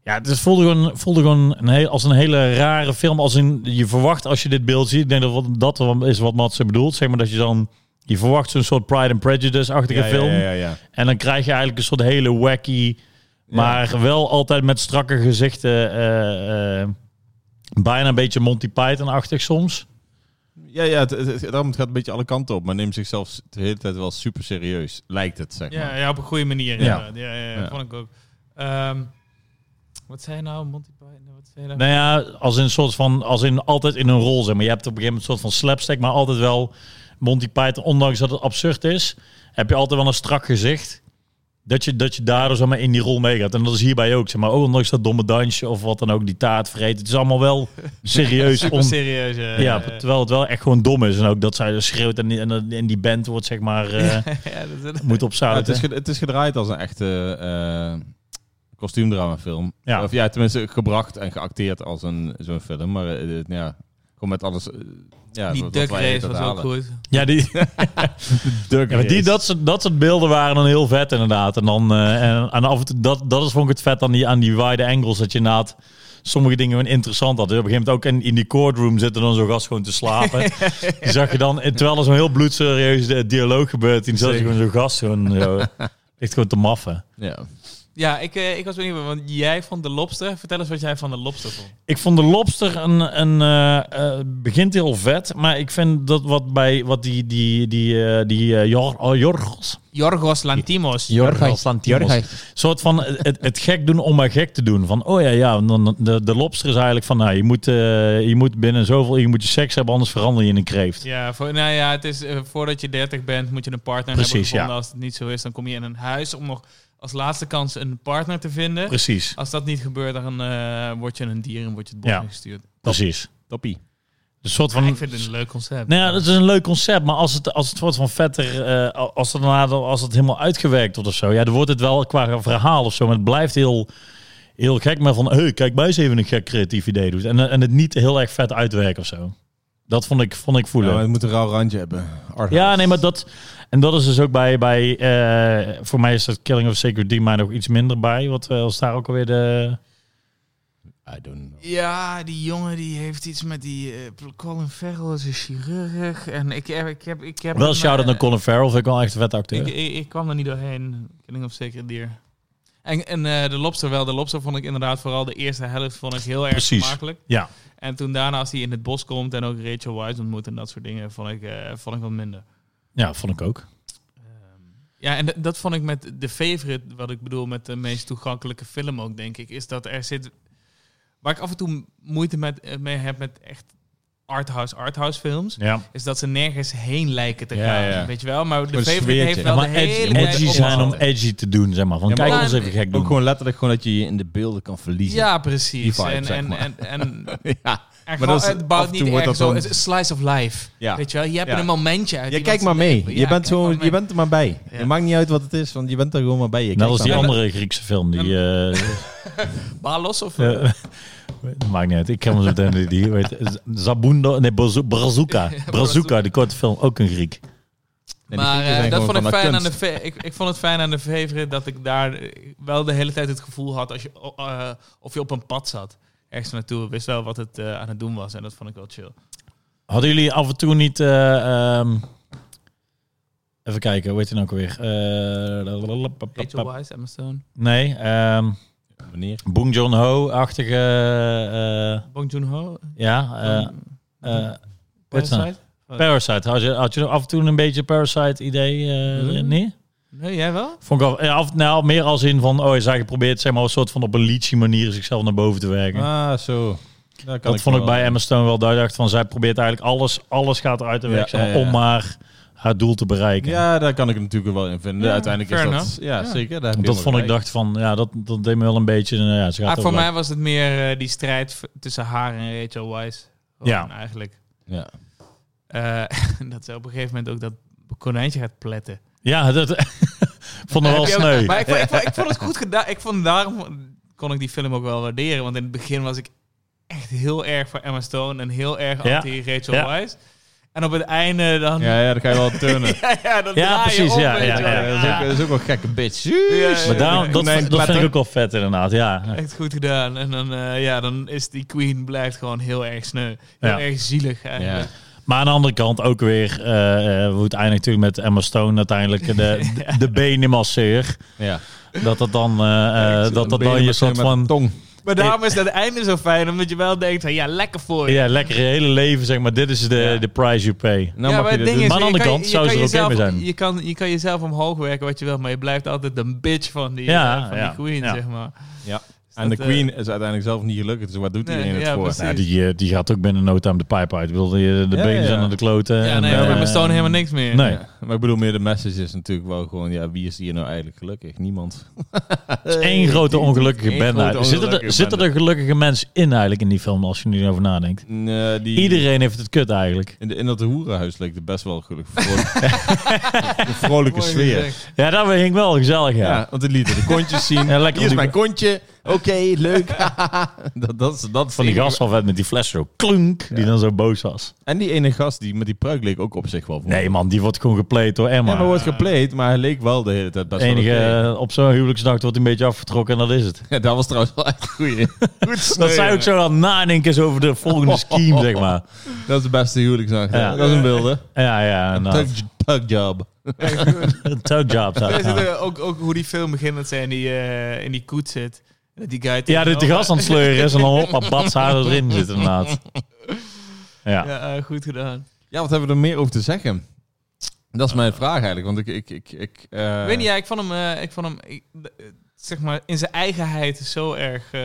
Speaker 2: ja, het is- voelde gewoon, voelde gewoon een heel, als een hele rare film. Als in, je verwacht als je dit beeld ziet... Ik denk dat wat- dat wel is wat Mats bedoelt. Zeg maar dat je dan... Je verwacht zo'n soort Pride and Prejudice-achtige
Speaker 1: Ja, ja,
Speaker 2: film.
Speaker 1: ja, ja, ja.
Speaker 2: En dan krijg je eigenlijk een soort hele wacky... Maar wel altijd met strakke gezichten. eh, eh, bijna een beetje Monty Python-achtig soms.
Speaker 1: Ja, ja het, het, het- daarom het gaat een beetje alle kanten op. Maar neemt zichzelf de hele tijd wel super serieus. Lijkt het, zeg maar.
Speaker 3: Ja, ja, op een goede manier.
Speaker 2: Ja.
Speaker 3: Ja, ja, ja,
Speaker 1: Ja.
Speaker 3: vond ik ook. Ehm, wat zei je nou, Monty Python? Wat zei je
Speaker 2: Nou
Speaker 3: nou?
Speaker 2: ja, als in een soort van, als in altijd in een rol zeg maar. Je hebt op een gegeven moment een soort van slapstick, maar altijd wel Monty Python, ondanks dat het absurd is, heb je altijd wel een strak gezicht. Dat je, dat je daardoor zeg maar, in die rol meegaat. En dat is hierbij ook. Zeg maar, oh, ondanks dat domme dansje of wat dan ook, die taart vreten. Het is allemaal wel serieus.
Speaker 3: Super
Speaker 2: om,
Speaker 3: serieus. eh,
Speaker 2: ja,
Speaker 3: eh,
Speaker 2: terwijl het wel echt gewoon dom is. En ook dat zij schreeuwt en, die- en, dat- en die band wordt, zeg maar, eh,
Speaker 3: ja, dat is-
Speaker 2: moet op
Speaker 1: Ja,
Speaker 2: zout.
Speaker 1: het, is ge- het is gedraaid als een echte eh kostuumdramafilm.
Speaker 2: Ja.
Speaker 1: Of ja, tenminste gebracht en geacteerd als een zo'n film. Maar eh, eh, ja, gewoon met alles... eh, ja,
Speaker 3: die
Speaker 1: wat- wat
Speaker 3: duck
Speaker 1: wij
Speaker 3: race was ook
Speaker 1: halen.
Speaker 3: goed.
Speaker 2: ja, die,
Speaker 1: Duck
Speaker 2: Ja, maar die,
Speaker 1: race.
Speaker 2: dat, soort, dat soort beelden waren dan heel vet inderdaad. En dan eh, en, en af en toe, dat, dat is vond ik het vet aan die, aan die wide angles. Dat je inderdaad sommige dingen gewoon interessant had. Dus op een gegeven moment ook in, in die courtroom zitten dan zo'n gast gewoon te slapen. Die zag je dan, eh, terwijl er zo'n heel bloedserieus eh, dialoog gebeurt. Die zat je
Speaker 1: Zeker.
Speaker 2: gewoon zo'n gast gewoon zo, ligt gewoon te maffen.
Speaker 1: Ja.
Speaker 3: Ja, ik, eh, ik was benieuwd, want jij vond de lobster. Vertel eens wat jij van de lobster vond.
Speaker 2: Ik vond de lobster een, een eh, eh, begint heel vet, maar ik vind dat wat bij wat die die die eh die eh, Jor- oh, Jorgos
Speaker 3: Jorgos Lantimos.
Speaker 2: Jorgos Lanthimos. soort van het, het gek doen om maar gek te doen. Van, oh ja, ja, dan- de, de lobster is eigenlijk van, nou, je moet, eh, je moet binnen zoveel, je moet je seks hebben, anders verander je in een kreeft.
Speaker 3: Ja, voor, nou ja, het is, eh, voordat je 30 bent moet je een partner hebben
Speaker 2: Precies,
Speaker 3: gevonden.
Speaker 2: ja.
Speaker 3: Als het niet zo is, dan kom je in een huis om nog als laatste kans een partner te vinden.
Speaker 2: Precies,
Speaker 3: Als dat niet gebeurt, dan eh, word je een dier en word je het bos
Speaker 2: Ja.
Speaker 3: gestuurd.
Speaker 2: precies.
Speaker 1: Toppie.
Speaker 2: Een soort van...
Speaker 3: Maar ik vind het een leuk concept.
Speaker 2: Nou ja, dat is een leuk concept, maar als het, als het wordt van vetter, eh, als, het daarna, als het helemaal uitgewerkt wordt of zo, ja, dan wordt het wel qua verhaal of zo, maar het blijft heel, heel gek, maar van, hey, kijk mij eens even een gek creatief idee doet. En, eh, en het niet heel erg vet uitwerken of zo. Dat vond ik, vond ik voelen.
Speaker 1: Ja, maar het moet een rauw randje hebben. Arthouse.
Speaker 2: Ja, nee, maar dat... En dat is dus ook bij... bij eh, voor mij is dat Killing of a Sacred Deer maar nog iets minder bij. Wat eh, was daar ook alweer de...
Speaker 1: I don't know.
Speaker 3: Ja, die jongen die heeft iets met die... eh, Colin Farrell is een chirurg. En ik, heb- ik heb... Ik heb
Speaker 2: Wel
Speaker 3: hem,
Speaker 2: shout-out
Speaker 3: eh,
Speaker 2: naar Colin Farrell. Vind ik wel echt een vette acteur.
Speaker 3: ik, ik, ik kwam er niet doorheen. Killing of Sacred Deer. En, en eh, de lobster wel. De lobster vond ik inderdaad vooral de eerste helft vond ik heel erg
Speaker 2: Precies.
Speaker 3: gemakkelijk.
Speaker 2: ja.
Speaker 3: En toen daarna als hij in het bos komt en ook Rachel Wise ontmoet en dat soort dingen, vond ik, eh, vond ik wat minder.
Speaker 2: ja, vond ik ook.
Speaker 3: Ehm, Ja, en d- dat vond ik met de favorite, wat ik bedoel met de meest toegankelijke film ook, denk ik, is dat er zit... Waar ik af en toe m- moeite met, eh, mee heb met echt arthouse, arthouse films,
Speaker 2: Ja.
Speaker 3: is dat ze nergens heen lijken te gaan.
Speaker 1: Ja, ja.
Speaker 3: Weet je wel? Maar de
Speaker 1: Een
Speaker 3: favorite
Speaker 1: sfeertje.
Speaker 3: heeft
Speaker 1: Ja,
Speaker 3: wel
Speaker 2: maar
Speaker 3: de hele
Speaker 2: edgy,
Speaker 1: tijd
Speaker 2: edgy zijn om edgy te doen, zeg maar. Van,
Speaker 1: Ja, maar
Speaker 2: kijk
Speaker 3: ook-
Speaker 2: ons even gek
Speaker 1: Ook
Speaker 2: doen.
Speaker 1: gewoon letterlijk gewoon dat je je in de beelden kan verliezen.
Speaker 3: Ja,
Speaker 1: Die
Speaker 3: precies.
Speaker 1: vibe,
Speaker 3: en,
Speaker 1: zeg
Speaker 3: en,
Speaker 1: maar.
Speaker 3: en, en,
Speaker 1: ja.
Speaker 3: en
Speaker 1: Maar dat is-
Speaker 3: gewoon, het bouwt
Speaker 1: af en toe
Speaker 3: niet
Speaker 1: wordt dat
Speaker 3: erg zo.
Speaker 1: dan-
Speaker 3: Het is slice of life.
Speaker 1: Ja.
Speaker 3: Weet je wel? Je hebt
Speaker 1: Ja.
Speaker 3: een momentje uit.
Speaker 1: Je
Speaker 3: iemand
Speaker 1: kijkt maar
Speaker 3: zijn
Speaker 1: mee.
Speaker 3: leven.
Speaker 1: je,
Speaker 3: Ja,
Speaker 1: bent
Speaker 3: kijk
Speaker 1: zo,
Speaker 3: maar
Speaker 1: je
Speaker 3: mee.
Speaker 1: bent er maar bij.
Speaker 3: Ja.
Speaker 1: Je maakt niet uit wat het is, want je bent er gewoon maar bij. Je
Speaker 2: Net
Speaker 1: kijkt
Speaker 2: als die
Speaker 1: maar mee.
Speaker 2: andere Griekse film. Die, eh,
Speaker 3: Balos of...
Speaker 2: eh, maakt niet uit. Ik ken hem zo meteen. Die, weet, Zabundo, nee, Brazu- Brazuca. Brazuca, die korte film. Ook een Griek.
Speaker 1: Nee, die
Speaker 3: maar
Speaker 1: Grieken
Speaker 3: eh,
Speaker 1: zijn
Speaker 3: dat
Speaker 1: gewoon
Speaker 3: vond ik,
Speaker 1: van
Speaker 3: fijn aan de
Speaker 1: kunst.
Speaker 3: fa- ik, ik vond het fijn aan de favorite dat ik daar eh, wel de hele tijd het gevoel had als je, o- eh, of je op een pad zat. Ergens naartoe. Wist wel wat het eh, aan het doen was. En dat vond ik wel chill.
Speaker 2: Hadden jullie af en toe niet... eh, ehm, even kijken, hoe heet hij nou ook weer?
Speaker 3: Rachel Wise, Emma Stone.
Speaker 2: nee, ehm
Speaker 1: Meneer.
Speaker 2: Boong Joon-ho-achtige... eh,
Speaker 3: Bong Joon-ho.
Speaker 2: ja, eh,
Speaker 3: van
Speaker 2: eh, wat is dat?
Speaker 3: Parasite?
Speaker 2: Parasite. Had je, had je af en toe een beetje Parasite-idee? eh,
Speaker 3: Hmm.
Speaker 2: Nee?
Speaker 3: Nee, jij wel?
Speaker 2: Vond ik af, ja, af, nou, meer als in van... Oh, zij geprobeerd zeg maar, een soort van op een lychee manier zichzelf naar boven te werken.
Speaker 1: Ah, zo. Daar kan
Speaker 2: dat vond ik
Speaker 1: wel.
Speaker 2: bij Emma Stone wel duidelijk. Van, zij probeert eigenlijk alles, alles gaat eruit de
Speaker 1: Ja,
Speaker 2: weg zeg maar,
Speaker 1: ja, ja.
Speaker 2: om maar haar doel te bereiken.
Speaker 1: Ja, daar kan ik het natuurlijk wel in vinden.
Speaker 3: Ja,
Speaker 1: Uiteindelijk is
Speaker 3: fair
Speaker 1: dat... Ja,
Speaker 3: Ja.
Speaker 1: zeker. Daar heb
Speaker 2: Want
Speaker 1: je
Speaker 2: dat vond ik,
Speaker 1: helemaal
Speaker 2: dacht van, ja, dat, dat deed me wel een beetje. nou ja, ze gaat
Speaker 3: Ah, voor
Speaker 2: overleven.
Speaker 3: mij was het meer eh, die strijd v- tussen haar en Rachel Wise.
Speaker 2: Ja.
Speaker 3: Eigenlijk.
Speaker 1: gelijk.
Speaker 3: Eh, dat ze op een gegeven moment ook dat konijntje gaat pletten.
Speaker 2: Ja, dat vond ik wel
Speaker 3: Heb je ook-
Speaker 2: Oh, sneu.
Speaker 3: Maar ik, vond- ik, vond- ik vond het goed gedaan. Ik vond daarom kon ik die film ook wel waarderen. Want in het begin was ik echt heel erg voor Emma Stone en heel erg
Speaker 2: Ja.
Speaker 3: anti-Rachel
Speaker 2: Ja.
Speaker 3: Wise. En op het einde dan...
Speaker 1: Ja. Ja, ja, dan kan je wel turnen.
Speaker 3: ja, ja, dan
Speaker 2: Ja,
Speaker 3: draai je
Speaker 2: precies,
Speaker 3: om,
Speaker 2: ja,
Speaker 3: weet je
Speaker 2: ja,
Speaker 3: wel.
Speaker 1: Ja, dat, is ook, dat is ook wel een gekke bitch.
Speaker 3: Ja,
Speaker 2: Maar daarom, dat,
Speaker 1: Nee,
Speaker 2: vind- dat vind
Speaker 1: platter.
Speaker 2: ik ook wel vet inderdaad, ja.
Speaker 3: Echt goed gedaan. En dan, eh, ja, dan is die queen blijft gewoon heel erg sneu. Heel
Speaker 2: Ja.
Speaker 3: erg zielig
Speaker 1: Ja.
Speaker 3: eigenlijk.
Speaker 2: Maar aan de andere kant ook weer, eh, eh, hoe het eindigt natuurlijk met Emma Stone uiteindelijk, de, de, de benenmasseur.
Speaker 1: Ja.
Speaker 2: Dat dat dan, eh, eh, dat dat dan je soort
Speaker 1: Met
Speaker 2: van,
Speaker 1: tong.
Speaker 3: Maar daarom
Speaker 2: Eh,
Speaker 3: is dat einde zo fijn, omdat je wel denkt, ja, lekker voor je.
Speaker 2: Ja, lekker je hele leven, zeg maar. Dit is de,
Speaker 3: Ja.
Speaker 2: de price you pay.
Speaker 1: Nou
Speaker 3: ja,
Speaker 1: mag je dit
Speaker 3: het ding
Speaker 1: doen.
Speaker 3: is,
Speaker 2: dus. Maar aan de andere
Speaker 3: je kan-
Speaker 2: kant
Speaker 3: je
Speaker 2: zou
Speaker 3: kan
Speaker 2: ze er oké
Speaker 3: jezelf-
Speaker 2: mee zijn.
Speaker 3: Je kan, je kan jezelf omhoog werken wat je wil, maar je blijft altijd een bitch van die,
Speaker 2: Ja,
Speaker 3: eh, van
Speaker 2: ja,
Speaker 3: die queen,
Speaker 2: ja.
Speaker 3: zeg maar.
Speaker 1: Ja.
Speaker 3: Dus
Speaker 1: En de
Speaker 3: dat, eh,
Speaker 1: Queen is uiteindelijk zelf niet gelukkig, dus wat doet
Speaker 3: Nee,
Speaker 1: iedereen het
Speaker 3: ja,
Speaker 1: voor?
Speaker 3: precies.
Speaker 2: Nou, die, eh, die gaat ook binnen no time de pijp uit. Ik bedoel, die, eh, de
Speaker 1: Ja,
Speaker 2: benen
Speaker 1: ja.
Speaker 2: zijn aan de kloten.
Speaker 3: Ja,
Speaker 2: en,
Speaker 3: nee,
Speaker 2: eh,
Speaker 3: we bestonen helemaal niks meer.
Speaker 2: Nee.
Speaker 1: Ja. Maar ik bedoel, meer de message is natuurlijk wel gewoon, ja, wie is hier nou eigenlijk gelukkig? Niemand.
Speaker 2: Het is één grote ongelukkige
Speaker 1: Eén
Speaker 2: bende.
Speaker 1: grote
Speaker 2: Zitten er,
Speaker 1: ongelukkige
Speaker 2: zitten er gelukkige mensen in eigenlijk in die film, als je nu over nadenkt? eh,
Speaker 1: Nee, die,
Speaker 2: Iedereen heeft het kut eigenlijk.
Speaker 1: In, de, in dat hoerenhuis leek het best wel gelukkig. Vrolijk, een vrolijke
Speaker 3: Mooi
Speaker 1: sfeer.
Speaker 3: gezegd.
Speaker 2: Ja, dat ging wel gezellig, ja.
Speaker 1: Ja. want die lieten de kontjes zien.
Speaker 2: Ja, lekker
Speaker 1: Hier is
Speaker 2: die-
Speaker 1: mijn kontje. Oké, leuk. dat, dat, is, dat is
Speaker 2: Van die
Speaker 1: het
Speaker 2: gast al vet met die fles zo klunk, die dan zo boos was.
Speaker 1: En die ene gast die met die pruik leek ook op zich wel. voor.
Speaker 2: Nee man, die wordt gewoon gepleed door Emma.
Speaker 1: Ja, maar wordt gepleed, maar hij leek wel de hele tijd best
Speaker 2: Enige,
Speaker 1: wel oké.
Speaker 2: eh, op zo'n huwelijksnacht wordt hij een beetje afgetrokken en dat is het.
Speaker 1: Ja, dat was trouwens wel echt een goeie. Goed
Speaker 2: Dat
Speaker 1: sneu,
Speaker 2: zij ook
Speaker 1: jongen.
Speaker 2: zo aan nadenken is over de volgende scheme, zeg maar.
Speaker 1: Dat is de beste huwelijksnacht. hè.
Speaker 2: Ja.
Speaker 1: Dat is een wilde.
Speaker 2: Ja, ja, nou,
Speaker 1: Tug- Tugjob.
Speaker 2: touwjob.
Speaker 3: Er zit er ook, ook hoe die film begint, dat zij in die, eh, in die koets zit. Dat die guy
Speaker 2: Ja,
Speaker 3: tegenover-
Speaker 2: dat de gast aan het sleuren is en dan hoppa, bats haar erin zit inderdaad. Ja.
Speaker 3: Ja, eh, goed gedaan.
Speaker 1: Ja, wat hebben we er meer over te zeggen? Dat is mijn vraag eigenlijk, want ik... ik, ik, ik eh,
Speaker 3: Ik weet niet, ja, ik vond hem, eh, ik vond hem ik- eh, zeg maar, in zijn eigenheid zo erg eh,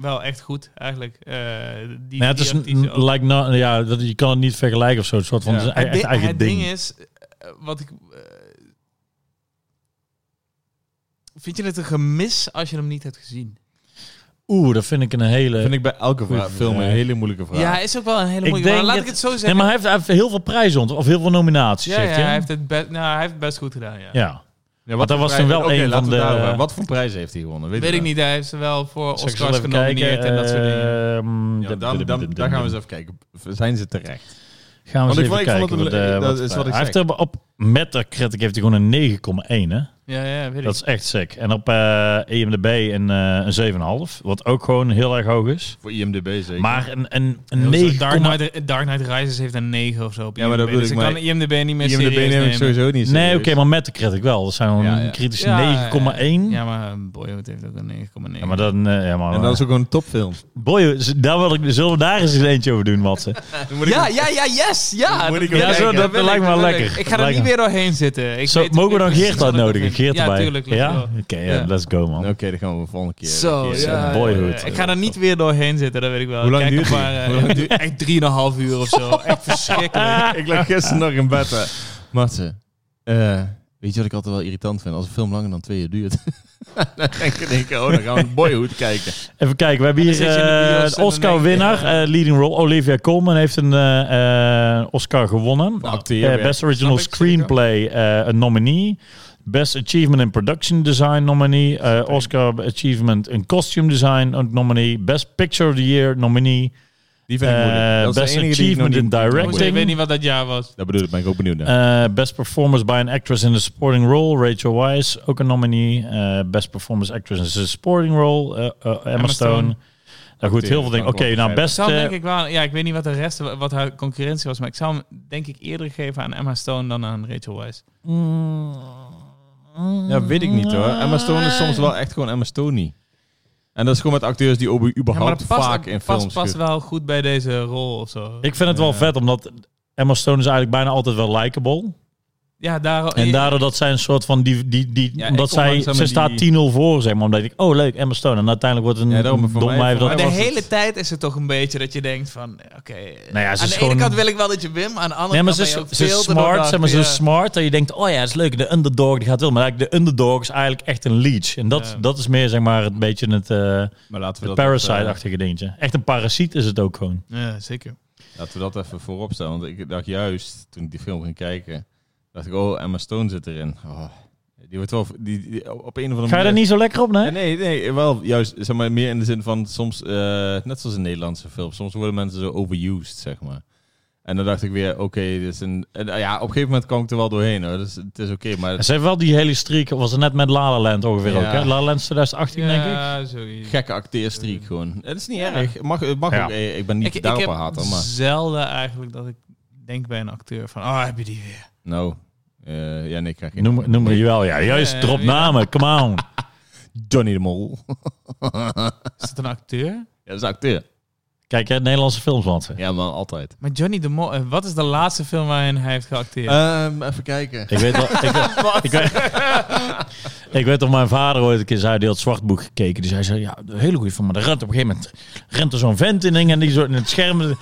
Speaker 3: wel echt goed, eigenlijk. Eh,
Speaker 2: Nee,
Speaker 3: die,
Speaker 2: Nou het
Speaker 3: die
Speaker 2: is
Speaker 3: actrice
Speaker 2: een-
Speaker 3: ook.
Speaker 2: lijkt nou, ja, dat, je kan het niet vergelijken of zo. Het soort van
Speaker 1: Ja.
Speaker 2: het is
Speaker 3: Het
Speaker 2: een e- echt
Speaker 3: di-
Speaker 2: eigen
Speaker 3: het
Speaker 2: ding.
Speaker 3: ding, is, eh, wat ik... eh, vind je het een gemis als je hem niet hebt gezien?
Speaker 2: Oeh, dat vind ik een hele.
Speaker 1: vind ik bij elke
Speaker 2: Goeie
Speaker 1: vra- film een
Speaker 2: vraag.
Speaker 1: hele moeilijke vraag.
Speaker 3: Ja, is ook wel een hele moeilijke...
Speaker 2: denk
Speaker 3: maar laat
Speaker 2: het-
Speaker 3: ik het zo zeggen.
Speaker 2: nee, maar hij heeft, hij heeft heel veel prijzen ont, of heel veel nominaties.
Speaker 3: ja,
Speaker 2: heeft
Speaker 3: ja,
Speaker 2: hij.
Speaker 3: hij, heeft het best, nou, hij heeft het best goed gedaan, ja.
Speaker 2: ja.
Speaker 1: Ja,
Speaker 2: Want dat
Speaker 1: voor
Speaker 2: was toen wel
Speaker 1: prijzen-
Speaker 2: een
Speaker 1: laten
Speaker 2: van
Speaker 1: we het
Speaker 2: de-
Speaker 1: daarover- Wat voor prijzen heeft hij gewonnen? Weet,
Speaker 3: Weet
Speaker 1: je
Speaker 3: ik
Speaker 1: dat?
Speaker 3: niet, hij heeft ze wel voor
Speaker 2: Zal ik
Speaker 3: Oscars
Speaker 2: eens even
Speaker 3: genomineerd
Speaker 2: kijken,
Speaker 3: en dat soort dingen.
Speaker 2: ehm,
Speaker 1: Ja, dan, dan, daar gaan we eens even kijken. Zijn ze terecht?
Speaker 2: Gaan we
Speaker 1: Want
Speaker 2: eens
Speaker 1: ik vond-
Speaker 2: even
Speaker 1: ik vond
Speaker 2: kijken.
Speaker 1: het
Speaker 2: Wat,
Speaker 1: een-
Speaker 2: eh,
Speaker 1: dat
Speaker 2: wat-
Speaker 1: is wat ik
Speaker 2: hij heeft
Speaker 1: zeg.
Speaker 2: er op Metacritic heeft hij gewoon een 9,1 hè.
Speaker 3: Ja, ja, weet
Speaker 2: Dat
Speaker 3: ik.
Speaker 2: is echt sick. En op eh IMDb een, eh, een 7,5. Wat ook gewoon heel erg hoog is.
Speaker 1: Voor IMDb zeker.
Speaker 2: Maar een, een,
Speaker 3: Heel
Speaker 2: een
Speaker 3: zo- Dark,
Speaker 2: 9,1.
Speaker 3: Knight, Dark Knight Rises heeft een 9 of zo op
Speaker 1: Ja, maar dat
Speaker 3: IMDb,
Speaker 1: bedoel ik,
Speaker 3: dus
Speaker 1: maar-
Speaker 3: ik kan IMDb niet meer
Speaker 1: IMDb
Speaker 3: serieus
Speaker 1: neem ik
Speaker 3: nemen.
Speaker 1: sowieso niet
Speaker 2: Nee, oké,
Speaker 1: serieus.
Speaker 2: maar Metacritic wel. Dat zijn gewoon
Speaker 1: Ja, ja.
Speaker 2: kritisch
Speaker 3: Ja,
Speaker 2: 9,1. Ja,
Speaker 3: Ja, maar eh, Boyhood heeft ook een 9,9.
Speaker 2: maar dan... eh, ja, maar,
Speaker 1: En dat is ook een topfilm.
Speaker 2: Boy, z- daar wil ik, zullen we daar eens eens eentje over doen, Matze?
Speaker 3: Ja, ja, ja, yes! Ja,
Speaker 1: Moet ik
Speaker 3: wil
Speaker 1: ook kijken.
Speaker 3: wil
Speaker 2: Dat
Speaker 3: ik,
Speaker 2: lijkt me wel
Speaker 3: wil
Speaker 2: lekker.
Speaker 3: Ik. Ik
Speaker 2: Dat
Speaker 3: ga er
Speaker 2: lijkt
Speaker 3: niet
Speaker 2: me-
Speaker 3: weer doorheen zitten. Ik
Speaker 2: Zo,
Speaker 3: weet
Speaker 2: mogen we
Speaker 3: ook
Speaker 2: dan
Speaker 3: niet
Speaker 2: Geert
Speaker 3: precies wat ik
Speaker 2: uitnodigen?
Speaker 3: vind.
Speaker 2: Geert erbij.
Speaker 3: Ja, tuurlijk. let's
Speaker 2: ja?
Speaker 3: go.
Speaker 2: Oké, ja,
Speaker 3: Ja.
Speaker 2: let's go, man.
Speaker 1: Oké, dan gaan we de volgende keer.
Speaker 3: Zo,
Speaker 1: keer- eh,
Speaker 3: ja.
Speaker 2: Boyhood.
Speaker 3: ja. Ik ga er niet weer doorheen zitten, dat weet ik wel.
Speaker 1: Hoe lang
Speaker 3: Kijk
Speaker 1: duurt
Speaker 3: nog
Speaker 1: die?
Speaker 3: maar, eh,
Speaker 1: Hoe lang duurt-
Speaker 3: Echt drieënhalf uur of zo. Echt verschrikkelijk.
Speaker 1: ik lag gisteren nog in bed. hè. Matze, eh, weet je wat ik altijd wel irritant vind? Als een film langer dan twee uur duurt. dan denk ik, denk ik, oh, dan gaan we een boyhood kijken.
Speaker 2: Even kijken, we hebben
Speaker 3: Dan
Speaker 2: hier
Speaker 3: zit je in de
Speaker 2: eh,
Speaker 3: bios en
Speaker 2: een
Speaker 3: dan
Speaker 2: Oscar-winnaar,
Speaker 3: denk je, ja.
Speaker 2: eh, leading role. Olivia Colman heeft een eh, eh, Oscar gewonnen.
Speaker 1: acteer
Speaker 2: Eh,
Speaker 1: weer.
Speaker 2: best Original
Speaker 3: Nou, Snap ik zeker.
Speaker 2: Screenplay, eh, een nominee. Best Achievement in Production Design nominee. Eh, Oscar Achievement in Costume Design een nominee. Best Picture of the Year nominee.
Speaker 1: Die vind ik
Speaker 2: Eh,
Speaker 1: moeilijk. Dat is de
Speaker 2: best
Speaker 1: enige die ik nog
Speaker 2: achievement
Speaker 1: niet-
Speaker 2: in directing.
Speaker 3: Hoezo, Ik weet niet wat dat jaar was.
Speaker 1: Dat bedoel ik, ben ik ook benieuwd naar.
Speaker 2: Eh, best Performance by an Actress in a Supporting Role, Rachel Weisz, ook een nominee. Eh, best Performance Actress in a Supporting Role, eh, eh, Emma,
Speaker 3: Emma
Speaker 2: Stone.
Speaker 3: Stone.
Speaker 2: Nou goed, heel veel dingen. Oké, nou best...
Speaker 3: Zou hem
Speaker 2: eh,
Speaker 3: denk ik wel, ja, ik weet niet wat de rest, wat haar concurrentie was, maar ik zou hem denk ik eerder geven aan Emma Stone dan aan Rachel Weisz.
Speaker 1: ja, weet ik niet hoor.
Speaker 3: Ah.
Speaker 1: Emma Stone is soms wel echt gewoon Emma Stone niet. En dat is gewoon met acteurs die obe-
Speaker 3: Ja, maar
Speaker 1: überhaupt
Speaker 3: dat past,
Speaker 1: vaak in
Speaker 3: past,
Speaker 1: films...
Speaker 3: past
Speaker 1: ge-
Speaker 3: wel goed bij deze rol of zo.
Speaker 2: Ik vind het wel vet, omdat Emma Stone is eigenlijk bijna altijd wel likable.
Speaker 3: ja, daar,
Speaker 2: En daardoor dat zij een soort van die... die, die
Speaker 1: Ja, ik
Speaker 2: omdat
Speaker 1: kom
Speaker 2: zij,
Speaker 1: langzaam
Speaker 2: zij
Speaker 1: in
Speaker 2: staat 10-0
Speaker 1: die-
Speaker 2: voor, zeg maar. Omdat ik, oh leuk, Emma Stone. En uiteindelijk wordt
Speaker 1: Ja,
Speaker 2: een
Speaker 1: daarom, voor
Speaker 2: dom
Speaker 1: mij-
Speaker 2: wijf
Speaker 1: voor mij
Speaker 2: dat...
Speaker 3: Maar de
Speaker 1: was
Speaker 3: hele
Speaker 1: het.
Speaker 3: tijd is het toch een beetje dat je denkt van, eh, oké.
Speaker 2: Nou ja, ze
Speaker 3: aan
Speaker 2: is
Speaker 3: de
Speaker 2: gewoon-
Speaker 3: ene kant wil ik wel dat je wint, maar aan de andere
Speaker 2: Nee, maar
Speaker 3: kant
Speaker 2: ze is,
Speaker 3: ben je ook
Speaker 2: ze is
Speaker 3: veel te
Speaker 2: smart,
Speaker 3: doordacht.
Speaker 2: zeg maar, ze
Speaker 3: Ja.
Speaker 2: is smart. Dat je denkt, oh ja, dat is leuk, de underdog die gaat wel. Maar eigenlijk de underdog is eigenlijk echt een leech. En dat,
Speaker 3: Ja.
Speaker 2: dat is meer, zeg maar, een beetje het eh,
Speaker 1: Maar laten we
Speaker 2: het
Speaker 1: dat...
Speaker 2: parasite-achtige dingetje. Echt een parasiet is het ook gewoon.
Speaker 3: Ja, zeker.
Speaker 1: Laten we dat even voorop stellen. Want ik dacht juist, toen ik die film ging kijken, dacht ik, oh, Emma Stone zit erin. Oh, die wordt wel... Die, die- op een of andere
Speaker 2: Ga je
Speaker 1: manier...
Speaker 2: daar niet zo lekker op, nee?
Speaker 1: Ja, nee, nee, wel juist, zeg maar, meer in de zin van soms, eh, net zoals in Nederlandse films, soms worden mensen zo overused, zeg maar. En dan dacht ik weer, oké, dit is een, en, eh, ja, op een gegeven moment kwam ik er wel doorheen, hoor. Dus het is oké, maar
Speaker 2: Ze heeft wel die hele streak, was het net met La La Land ongeveer
Speaker 1: Ja.
Speaker 2: ook, hè? La La Land is 2018, denk ik.
Speaker 3: Ja, zoiets.
Speaker 1: gekke acteerstreek gewoon. Het is niet
Speaker 3: Ja.
Speaker 1: erg. Het mag, het mag
Speaker 2: Ja.
Speaker 1: ook, eh, ik ben niet
Speaker 3: ik, ik
Speaker 1: daarop
Speaker 3: heb
Speaker 1: een hater, maar
Speaker 3: zelden eigenlijk dat ik denk bij een acteur van, oh, heb je die weer.
Speaker 1: nou, eh, ja, nee, ik krijg geen...
Speaker 2: Noem, noem maar je wel, ja. Juist,
Speaker 3: Ja,
Speaker 2: drop
Speaker 3: ja.
Speaker 2: namen, come on.
Speaker 1: Johnny de Mol.
Speaker 3: Is dat een acteur?
Speaker 1: Ja, dat is acteur.
Speaker 2: Kijk jij Nederlandse films, wat?
Speaker 1: Ja, man, altijd.
Speaker 3: Maar Johnny de Mol, eh, wat is de laatste film waarin hij heeft geacteerd?
Speaker 2: Eh,
Speaker 1: Ehm, even kijken.
Speaker 2: Ik weet wel... ik, weet- ik, weet, ik weet dat mijn vader ooit een keer zei, die had Zwartboek gekeken. Dus hij zei, ja, een hele goede film. Maar er rent op een gegeven moment rent er zo'n vent in ding en die zo in het scherm.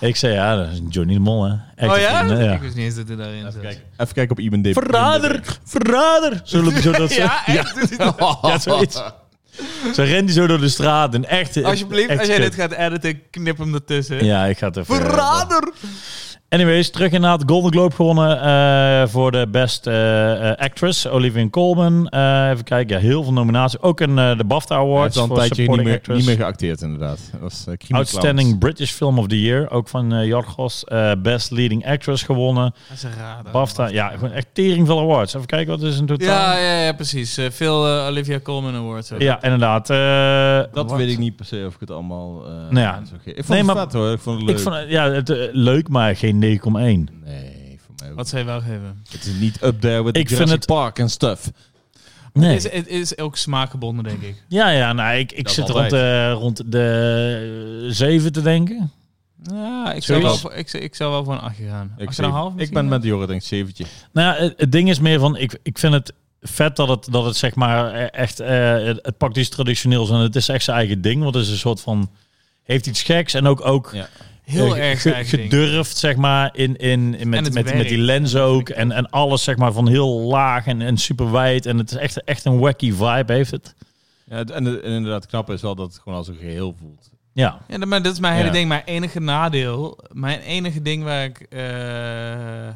Speaker 2: ik zei, ja, dat is Johnny de Mol, hè. Echte
Speaker 3: oh ja?
Speaker 2: vrienden,
Speaker 3: Ik wist niet eens dat hij daarin zat.
Speaker 1: Even kijken op IMDb.
Speaker 2: Verrader, verrader. Zullen we zo dat ze...
Speaker 3: Ja, echt? Doet hij dat?
Speaker 2: Ja, zoiets. Zo rent die zo door de straat. Een echte...
Speaker 3: Alsjeblieft,
Speaker 2: echt
Speaker 3: als jij
Speaker 2: kut.
Speaker 3: dit gaat editen, knip hem ertussen.
Speaker 2: Ja, ik ga het even...
Speaker 3: Verrader!
Speaker 2: Anyways, terug inderdaad. Golden Globe gewonnen eh, voor de best eh, eh, actress. Olivia Colman. Eh, even kijken. Ja, heel veel nominaties. Ook een, eh, de BAFTA
Speaker 1: Hij
Speaker 2: Awards
Speaker 1: heeft al een
Speaker 2: voor
Speaker 1: tijdje niet
Speaker 2: supporting
Speaker 1: meer,
Speaker 2: actress.
Speaker 1: niet meer geacteerd, inderdaad. Dat was eh, Crime
Speaker 2: Outstanding British Film of the Year. Ook van eh, Jorgos. Eh, best leading actress gewonnen.
Speaker 3: Dat is een raar.
Speaker 2: BAFTA. Ja, gewoon echt tering veel awards. Even kijken wat is in totaal.
Speaker 3: Ja, ja, ja, precies. Eh, veel eh, Olivia Colman Awards. ook.
Speaker 2: Ja, inderdaad. eh,
Speaker 1: Dat
Speaker 2: wat?
Speaker 1: weet ik niet per se of ik het allemaal... eh,
Speaker 2: ja.
Speaker 1: zo ge- Ik vond
Speaker 2: Nee,
Speaker 1: het
Speaker 2: maar-
Speaker 1: vet hoor, ik vond het leuk.
Speaker 2: Ik vond, het- ja, het, eh, leuk, maar geen 9,1.
Speaker 1: Nee, voor mij ook
Speaker 3: Wat zou je wel geven?
Speaker 1: Het is niet up there with
Speaker 2: Ik
Speaker 1: ik
Speaker 2: vind
Speaker 1: Jurassic
Speaker 2: het-
Speaker 1: Park en stuff.
Speaker 2: Nee.
Speaker 3: Het, is, het is ook smaakgebonden, denk ik.
Speaker 2: Ja, ja, nou, ik, ik
Speaker 1: Dat
Speaker 2: zit rond
Speaker 1: altijd.
Speaker 2: de, rond de eh, 7 te denken.
Speaker 3: Ja, ik zou,
Speaker 2: Zoiets.
Speaker 3: wel voor, ik, zou- ik zou wel voor een achtje gaan.
Speaker 1: Ik,
Speaker 3: Acht en een
Speaker 1: zeven-
Speaker 3: half
Speaker 1: ik
Speaker 3: misschien
Speaker 1: ben
Speaker 3: wel?
Speaker 1: met Jorrit denk ik zeventje.
Speaker 2: Nou, ja, het, het ding is meer van, ik, ik vind het vet dat het, dat het zeg maar eh, echt, eh, het, het pakt iets traditioneels en het is echt zijn eigen ding. Want het is een soort van, heeft iets geks en ook, ook
Speaker 1: Ja.
Speaker 3: heel
Speaker 2: eh,
Speaker 3: erg
Speaker 2: ge-
Speaker 3: zijn eigen ding.
Speaker 2: gedurfd, zeg maar, in, in, in
Speaker 3: En
Speaker 2: met,
Speaker 3: het
Speaker 2: met, met die
Speaker 3: werkt.
Speaker 2: lens ook. En, en alles zeg maar van heel laag en, en super wijd. En het is echt, echt een wacky vibe heeft het.
Speaker 1: Ja, het- en, en inderdaad, het knappe is wel dat het gewoon als een geheel voelt.
Speaker 2: Ja,
Speaker 3: Ja, dat- maar dat is mijn hele
Speaker 1: Ja.
Speaker 3: ding. Mijn enige nadeel, mijn enige ding waar ik... eh,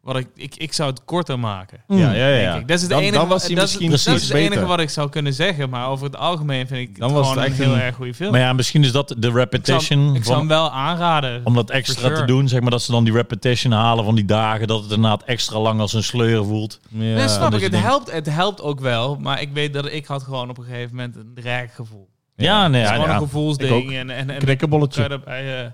Speaker 3: wat ik, ik, ik zou het korter maken.
Speaker 2: Mm.
Speaker 1: Ja, ja, ja. ja.
Speaker 3: denk ik. Dat is het
Speaker 1: dan,
Speaker 3: enige,
Speaker 1: dan was hij
Speaker 3: dat is-
Speaker 1: misschien
Speaker 2: precies
Speaker 3: dat is het enige
Speaker 1: beter.
Speaker 3: wat ik zou kunnen zeggen. Maar over het algemeen vind ik
Speaker 1: Dan
Speaker 3: het
Speaker 1: was
Speaker 3: gewoon
Speaker 1: het
Speaker 3: een
Speaker 1: echt
Speaker 3: heel
Speaker 1: een-
Speaker 3: erg goede film.
Speaker 2: Mm. maar ja, misschien is dat de
Speaker 3: ik zou,
Speaker 2: repetition.
Speaker 3: ik zou
Speaker 2: van-
Speaker 3: hem wel aanraden.
Speaker 2: om dat extra
Speaker 3: For sure.
Speaker 2: te doen, zeg maar dat ze dan die repetition halen van die dagen, dat het inderdaad extra lang als een sleur voelt.
Speaker 1: Ja,
Speaker 3: Nee, snap
Speaker 2: dat
Speaker 3: ik.
Speaker 2: je
Speaker 3: Het
Speaker 2: denkt-
Speaker 3: helpt, het helpt ook wel. Maar ik weet dat ik had gewoon op een gegeven moment een rijk gevoel.
Speaker 2: Ja, nee,
Speaker 3: Het is
Speaker 2: ja,
Speaker 3: gewoon
Speaker 2: ja.
Speaker 3: een
Speaker 1: Ik ook.
Speaker 3: gevoelsding. En, en, en
Speaker 1: Knikkenbolletje.
Speaker 3: verder bij, eh,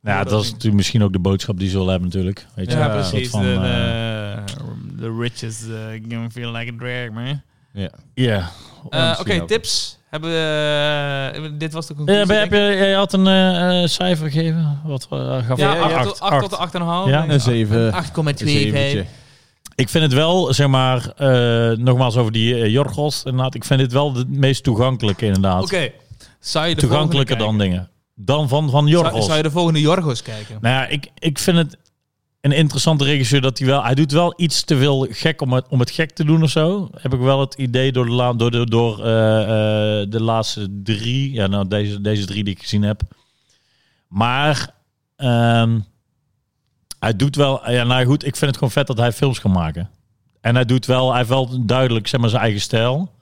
Speaker 2: Nou, ja, dat is natuurlijk misschien ook de boodschap die ze willen hebben natuurlijk. Weet je?
Speaker 3: ja,
Speaker 1: Ja,
Speaker 2: Een soort
Speaker 3: precies.
Speaker 2: van,
Speaker 3: de,
Speaker 2: eh,
Speaker 3: de- the riches eh, gonna feel like a drag,
Speaker 2: Oh,
Speaker 3: man.
Speaker 1: Ja.
Speaker 2: ja.
Speaker 3: Eh, Oké,
Speaker 1: misschien ook.
Speaker 3: tips. Hebben we, eh, dit was de
Speaker 2: Eh,
Speaker 3: conclusie.
Speaker 2: heb je- heb
Speaker 3: denk ik.
Speaker 2: je, jij had een eh, eh, cijfer gegeven? Wat eh, gaf
Speaker 3: ja,
Speaker 2: je?
Speaker 3: 8,
Speaker 2: Acht, acht.
Speaker 3: tot 8,5.
Speaker 2: Ja. dus, eh,
Speaker 1: Een zeven. Een
Speaker 3: 8,2.
Speaker 1: zeventje.
Speaker 3: geven.
Speaker 2: Ik vind het wel, zeg maar, eh, nogmaals over die eh, Jorgos, inderdaad, ik vind dit wel het meest toegankelijke inderdaad.
Speaker 3: Oké, zou je de
Speaker 2: Toegankelijker dan
Speaker 3: volgende
Speaker 2: dingen. Dan van, van
Speaker 3: kijken?
Speaker 2: Jorgos.
Speaker 3: Zou, zou je de volgende Jorgos kijken?
Speaker 2: Nou ja, ik, ik vind het een interessante regisseur dat hij wel... Hij doet wel iets te veel gek om het, om het gek te doen of zo. Heb ik wel het idee door de, la, door de, door, eh, eh, de laatste drie... Ja, nou, deze, deze drie die ik gezien heb. Maar ehm, hij doet wel... Ja, nou goed, ik vind het gewoon vet dat hij films kan maken. En hij doet wel... Hij heeft wel duidelijk, zeg maar, zijn eigen stijl.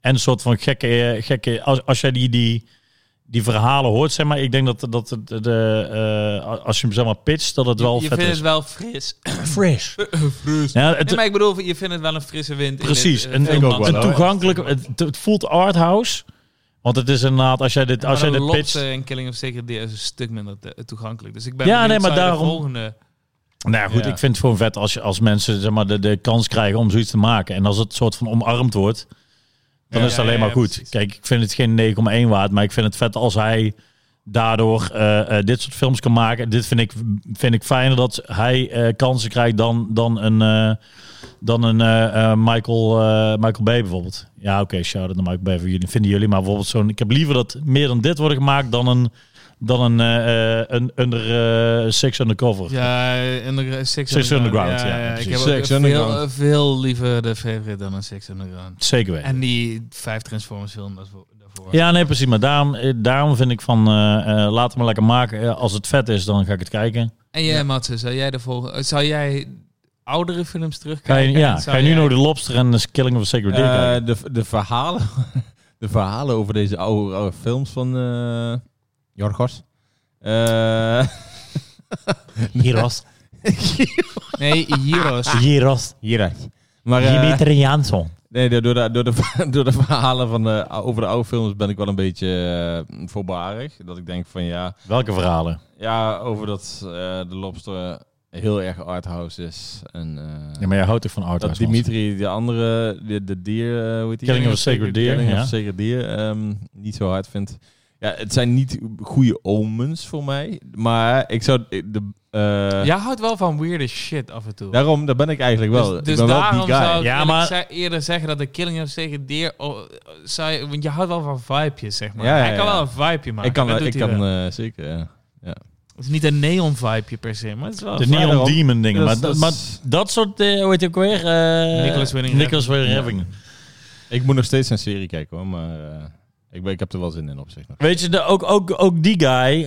Speaker 2: En een soort van gekke... eh, gekke als, als jij die... die die verhalen hoort, zeg maar. Ik denk dat, dat het, de, eh, als je hem zeg maar pitcht, dat het wel
Speaker 3: je
Speaker 2: vet
Speaker 3: vindt
Speaker 2: is.
Speaker 3: het wel fris.
Speaker 2: Fresh.
Speaker 3: fris.
Speaker 2: Ja, het,
Speaker 3: Nee, maar ik bedoel, je vindt het wel een frisse wind. in
Speaker 2: precies.
Speaker 3: dit, eh,
Speaker 2: Een,
Speaker 1: ik ook
Speaker 2: een,
Speaker 1: wel,
Speaker 2: een
Speaker 1: hoor.
Speaker 2: toegankelijk... Het, het voelt arthouse. Want het is inderdaad, als jij dit, als jij
Speaker 3: Maar
Speaker 2: dit
Speaker 3: de
Speaker 2: pitcht...
Speaker 3: Lobster en Killing of Sacred Deer is een stuk minder te- toegankelijk. Dus ik ben
Speaker 2: Ja,
Speaker 3: benieuwd,
Speaker 2: nee, maar
Speaker 3: zou je de
Speaker 2: daarom-
Speaker 3: volgende...
Speaker 2: Nou ja, goed,
Speaker 1: Ja.
Speaker 2: ik vind het gewoon vet als, je, als mensen zeg maar, de, de kans krijgen om zoiets te maken. En als het soort van omarmd wordt, dan
Speaker 3: Ja,
Speaker 2: is het
Speaker 3: ja,
Speaker 2: alleen
Speaker 3: ja,
Speaker 2: maar goed.
Speaker 3: precies.
Speaker 2: Kijk, ik vind het geen 9,1 waard, maar ik vind het vet als hij daardoor eh, eh, dit soort films kan maken. Dit vind ik, vind ik fijner dat hij eh, kansen krijgt dan, dan een, eh, dan een eh, eh, Michael, eh, Michael Bay bijvoorbeeld. Ja, oké, shout-out naar Michael Bay voor jullie. Vinden jullie maar bijvoorbeeld zo'n... Ik heb liever dat meer dan dit wordt gemaakt dan een... Dan een, eh, eh, een under, eh six undercover.
Speaker 3: Ja, under, Six,
Speaker 2: Underground, ja,
Speaker 3: ik
Speaker 2: precies.
Speaker 3: heb ook
Speaker 1: Six
Speaker 3: veel,
Speaker 1: Underground.
Speaker 3: eh, veel liever de favorite dan een Six Underground.
Speaker 2: Zeker weten.
Speaker 3: En die vijf Transformers film daarvoor. daarvoor.
Speaker 2: Ja, nee, precies. Maar daarom, eh, daarom vind ik van, eh, eh, laat het maar lekker maken. Eh, als het vet is, dan ga ik het kijken.
Speaker 3: En jij, Matze, zou jij de volgende... eh, Zou jij oudere films
Speaker 2: Ga je,
Speaker 3: terugkijken?
Speaker 2: ja,
Speaker 3: En zou
Speaker 2: ga je nu
Speaker 3: jij-
Speaker 2: nog de Lobster en de Killing of a Sacred Deer kijken?
Speaker 1: Eh, de, de, verhalen, de verhalen over deze oude, oude films van eh Jorgos. Eh
Speaker 2: Gyros.
Speaker 3: Nee, Heroes.
Speaker 2: Gyros.
Speaker 1: Hieruit. Ah. Maar eh,
Speaker 2: Jimeter Jansson.
Speaker 1: nee, door, door, de, door, de, door de verhalen van, eh, over de oude films ben ik wel een beetje eh, voorbarig. Dat ik denk van ja,
Speaker 2: Welke verhalen?
Speaker 1: ja over dat eh, de lobster heel erg arthouse is. En, eh,
Speaker 2: Ja, maar jij houdt toch van
Speaker 1: dat
Speaker 2: auto's?
Speaker 1: Dimitri, de andere, de, de dier, eh, hoe heet die?
Speaker 2: Killing of a Sacred Deer,
Speaker 1: Killing of
Speaker 2: ja.
Speaker 1: a Sacred Deer, ehm, niet zo hard vindt. Ja, het zijn niet goede omens voor mij, maar ik zou... De, eh,
Speaker 3: Jij houdt wel van weirde shit af en toe.
Speaker 1: Daarom, daar ben ik eigenlijk wel.
Speaker 3: Dus,
Speaker 1: ik
Speaker 3: dus
Speaker 1: ben wel die
Speaker 3: daarom
Speaker 1: guy.
Speaker 3: zou ik
Speaker 2: Ja,
Speaker 3: ja,
Speaker 2: maar-
Speaker 3: eerder zeggen dat de Killing of Sacred Deer... oh, zou je, want je houdt wel van vibejes, zeg maar.
Speaker 1: Ja, ja,
Speaker 3: hij kan
Speaker 1: ja.
Speaker 3: wel een vibeje maken.
Speaker 1: ik kan,
Speaker 3: dat
Speaker 1: wel- ik
Speaker 3: doet hij
Speaker 1: kan
Speaker 3: wel.
Speaker 1: eh, zeker, ja.
Speaker 3: Het is niet een neon vibeje per se, maar het is wel...
Speaker 2: De
Speaker 3: een vibe.
Speaker 2: Neon
Speaker 1: daarom.
Speaker 2: Demon
Speaker 1: Dat
Speaker 2: dingen. Maar,
Speaker 1: is- dat
Speaker 2: maar
Speaker 1: is-
Speaker 2: dat soort, eh hoe heet die ook weer? Eh,
Speaker 3: Nicholas Winding
Speaker 2: Nicholas Winding Refn.
Speaker 1: Ik moet nog steeds een serie kijken hoor, maar eh, ik, ben, ik heb er wel zin in op zich nog.
Speaker 2: Weet je, de, ook, ook, ook die guy.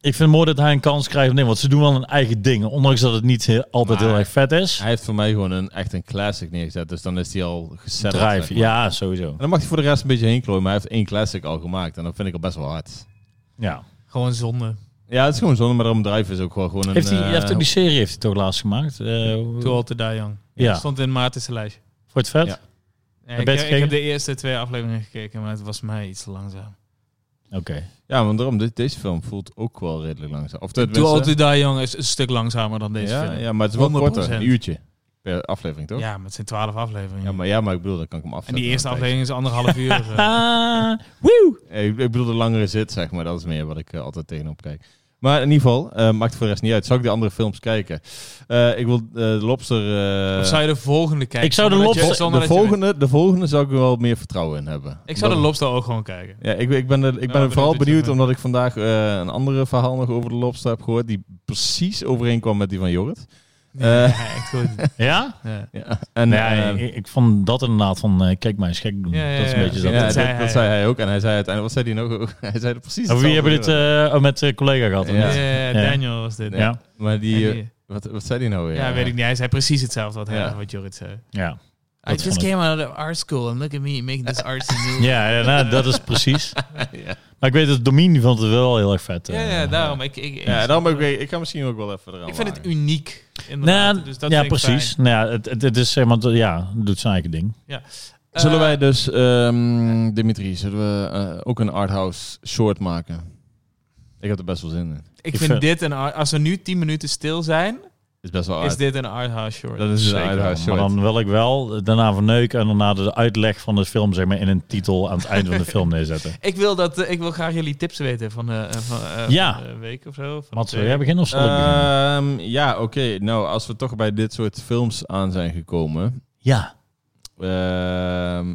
Speaker 2: Ik vind het mooi dat hij een kans krijgt. Nee, want ze doen wel een eigen ding. Ondanks dat het niet heel- altijd
Speaker 1: Maar-
Speaker 2: heel erg vet is.
Speaker 1: Hij heeft voor mij gewoon een, echt een classic neergezet, dus dan is hij al gezet.
Speaker 2: Drive, ja, sowieso.
Speaker 1: En dan mag hij voor de rest een beetje heen klooien, maar hij heeft één classic al gemaakt en dat vind ik al best wel hard.
Speaker 2: Ja.
Speaker 3: Gewoon zonde.
Speaker 1: Ja, het is gewoon zonde, maar daarom Drive is ook gewoon, gewoon een...
Speaker 2: Heeft hij,
Speaker 1: eh,
Speaker 2: heeft ook die serie heeft hij toch laatst gemaakt? Eh,
Speaker 3: Too Old to Die Young.
Speaker 2: ja, voor
Speaker 3: Stond in Maarten's lijstje.
Speaker 2: het vet.
Speaker 1: Ja.
Speaker 3: Nee,
Speaker 2: je
Speaker 3: ik,
Speaker 2: het
Speaker 3: ik
Speaker 2: gekeken?
Speaker 3: heb de eerste twee afleveringen gekeken, maar het was mij iets te langzaam.
Speaker 2: Oké.
Speaker 1: ja, want daarom, dit, deze film voelt ook wel redelijk langzaam. Of
Speaker 3: Too Old
Speaker 1: tenminste-
Speaker 3: to Die Young is een stuk langzamer dan deze
Speaker 1: ja,
Speaker 3: film.
Speaker 1: ja, maar het is wel korter,
Speaker 3: 100%.
Speaker 1: een uurtje per aflevering toch? Ja,
Speaker 3: Ja, maar het zijn twaalf afleveringen.
Speaker 1: maar, ja maar ik bedoel, dan kan ik hem
Speaker 3: en
Speaker 1: afzetten.
Speaker 3: die eerste
Speaker 1: dan
Speaker 3: aflevering is anderhalf uur. eh.
Speaker 2: Ah, woe!
Speaker 1: Ik, ik bedoel de langere zit, zeg maar. Dat is meer wat ik eh, altijd tegenop kijk. Maar in ieder geval, eh, maakt voor de rest niet uit. Zou ik de andere films kijken? Eh, ik wil eh, de Lobster... eh,
Speaker 3: of zou je de volgende kijken?
Speaker 2: Ik zou de
Speaker 3: Zonder dat je-
Speaker 2: Lobster-
Speaker 3: zonder
Speaker 1: de,
Speaker 3: dat je weet.
Speaker 1: volgende, de volgende zou ik er wel meer vertrouwen in hebben.
Speaker 3: Ik zou de
Speaker 1: Omdat-
Speaker 3: Lobster ook gewoon kijken.
Speaker 1: Ja, ik, ik ben, er, ik ben
Speaker 3: benieuwd
Speaker 1: vooral
Speaker 3: wat je
Speaker 1: benieuwd
Speaker 3: ervan-
Speaker 1: omdat ik vandaag eh, een andere verhaal nog over de Lobster heb gehoord. Die precies overeenkwam met die van Jorrit.
Speaker 3: Ja, echt goed.
Speaker 2: Ja?
Speaker 3: Ja.
Speaker 1: Ja. En, eh,
Speaker 2: Nee, ik, ik vond dat inderdaad van, eh, kijk maar eens gek doen.
Speaker 3: Ja, ja,
Speaker 2: dat is een
Speaker 3: ja.
Speaker 2: beetje
Speaker 1: ja,
Speaker 2: dat.
Speaker 3: dat
Speaker 1: dat,
Speaker 3: zei
Speaker 1: dat
Speaker 3: hij.
Speaker 1: zei hij ook. En hij zei uiteindelijk, wat zei hij nog? hij zei er precies
Speaker 2: Of wie hebben dit
Speaker 1: hetzelfde.
Speaker 2: eh, met eh collega gehad?
Speaker 1: Ja.
Speaker 2: Ja.
Speaker 3: Ja, Daniel was dit.
Speaker 1: Ja.
Speaker 2: Ja.
Speaker 1: Maar
Speaker 3: En
Speaker 1: die...
Speaker 3: die-
Speaker 1: eh, wat, wat zei hij nou weer?
Speaker 3: ja, weet ik niet. Hij zei precies hetzelfde wat, hij,
Speaker 1: Ja.
Speaker 3: wat Jorrit zei.
Speaker 2: ja.
Speaker 3: I
Speaker 2: Dat
Speaker 3: just
Speaker 2: vond ik-
Speaker 3: came out of art school and look at me making this artsy movie.
Speaker 2: Ja, ja, nou, dat is precies.
Speaker 1: Ja.
Speaker 2: Maar ik weet dat Domien vond het wel heel erg vet.
Speaker 3: Ja,
Speaker 2: eh.
Speaker 3: ja, daarom. Ik, ik, ik,
Speaker 1: Ja, dan ben ik, weer- ik ga misschien ook wel even eraan
Speaker 3: ik vind het
Speaker 1: wagen.
Speaker 3: uniek. inderdaad.
Speaker 2: Nou,
Speaker 3: dus dat
Speaker 2: ja,
Speaker 3: vind ik
Speaker 2: precies. Nou, ja, het, het, het is zeg maar, ja, het doet zijn eigen ding.
Speaker 3: fijn.
Speaker 1: Zullen
Speaker 3: Eh,
Speaker 1: wij dus, ehm, Dimitri, zullen we eh, ook een arthouse short maken? Ik heb er best wel zin in.
Speaker 3: Ik
Speaker 2: Ik
Speaker 3: vind
Speaker 2: vind-
Speaker 3: dit een... art- Als we nu 10 minuten stil zijn,
Speaker 1: Is best wel
Speaker 3: is
Speaker 1: art.
Speaker 3: dit een arthouse short.
Speaker 1: Oh, Dat is dus een
Speaker 2: Zeker wel.
Speaker 1: arthouse
Speaker 2: eh, nou, Maar
Speaker 1: short.
Speaker 2: dan wil ik wel daarna verneuken en daarna de uitleg van de film zeg maar, in een titel aan het einde van de film neerzetten.
Speaker 3: Ik wil, dat, eh, ik wil graag jullie tips weten van, eh, eh, van, eh,
Speaker 2: Ja.
Speaker 3: van de week of zo. Van
Speaker 2: Wat
Speaker 3: twee
Speaker 2: wil jij
Speaker 3: weken.
Speaker 2: beginnen of zal ik beginnen?
Speaker 1: Ehm, ja, oké. Nou, als we toch bij dit soort films aan zijn gekomen,
Speaker 2: Ja.
Speaker 1: ehm,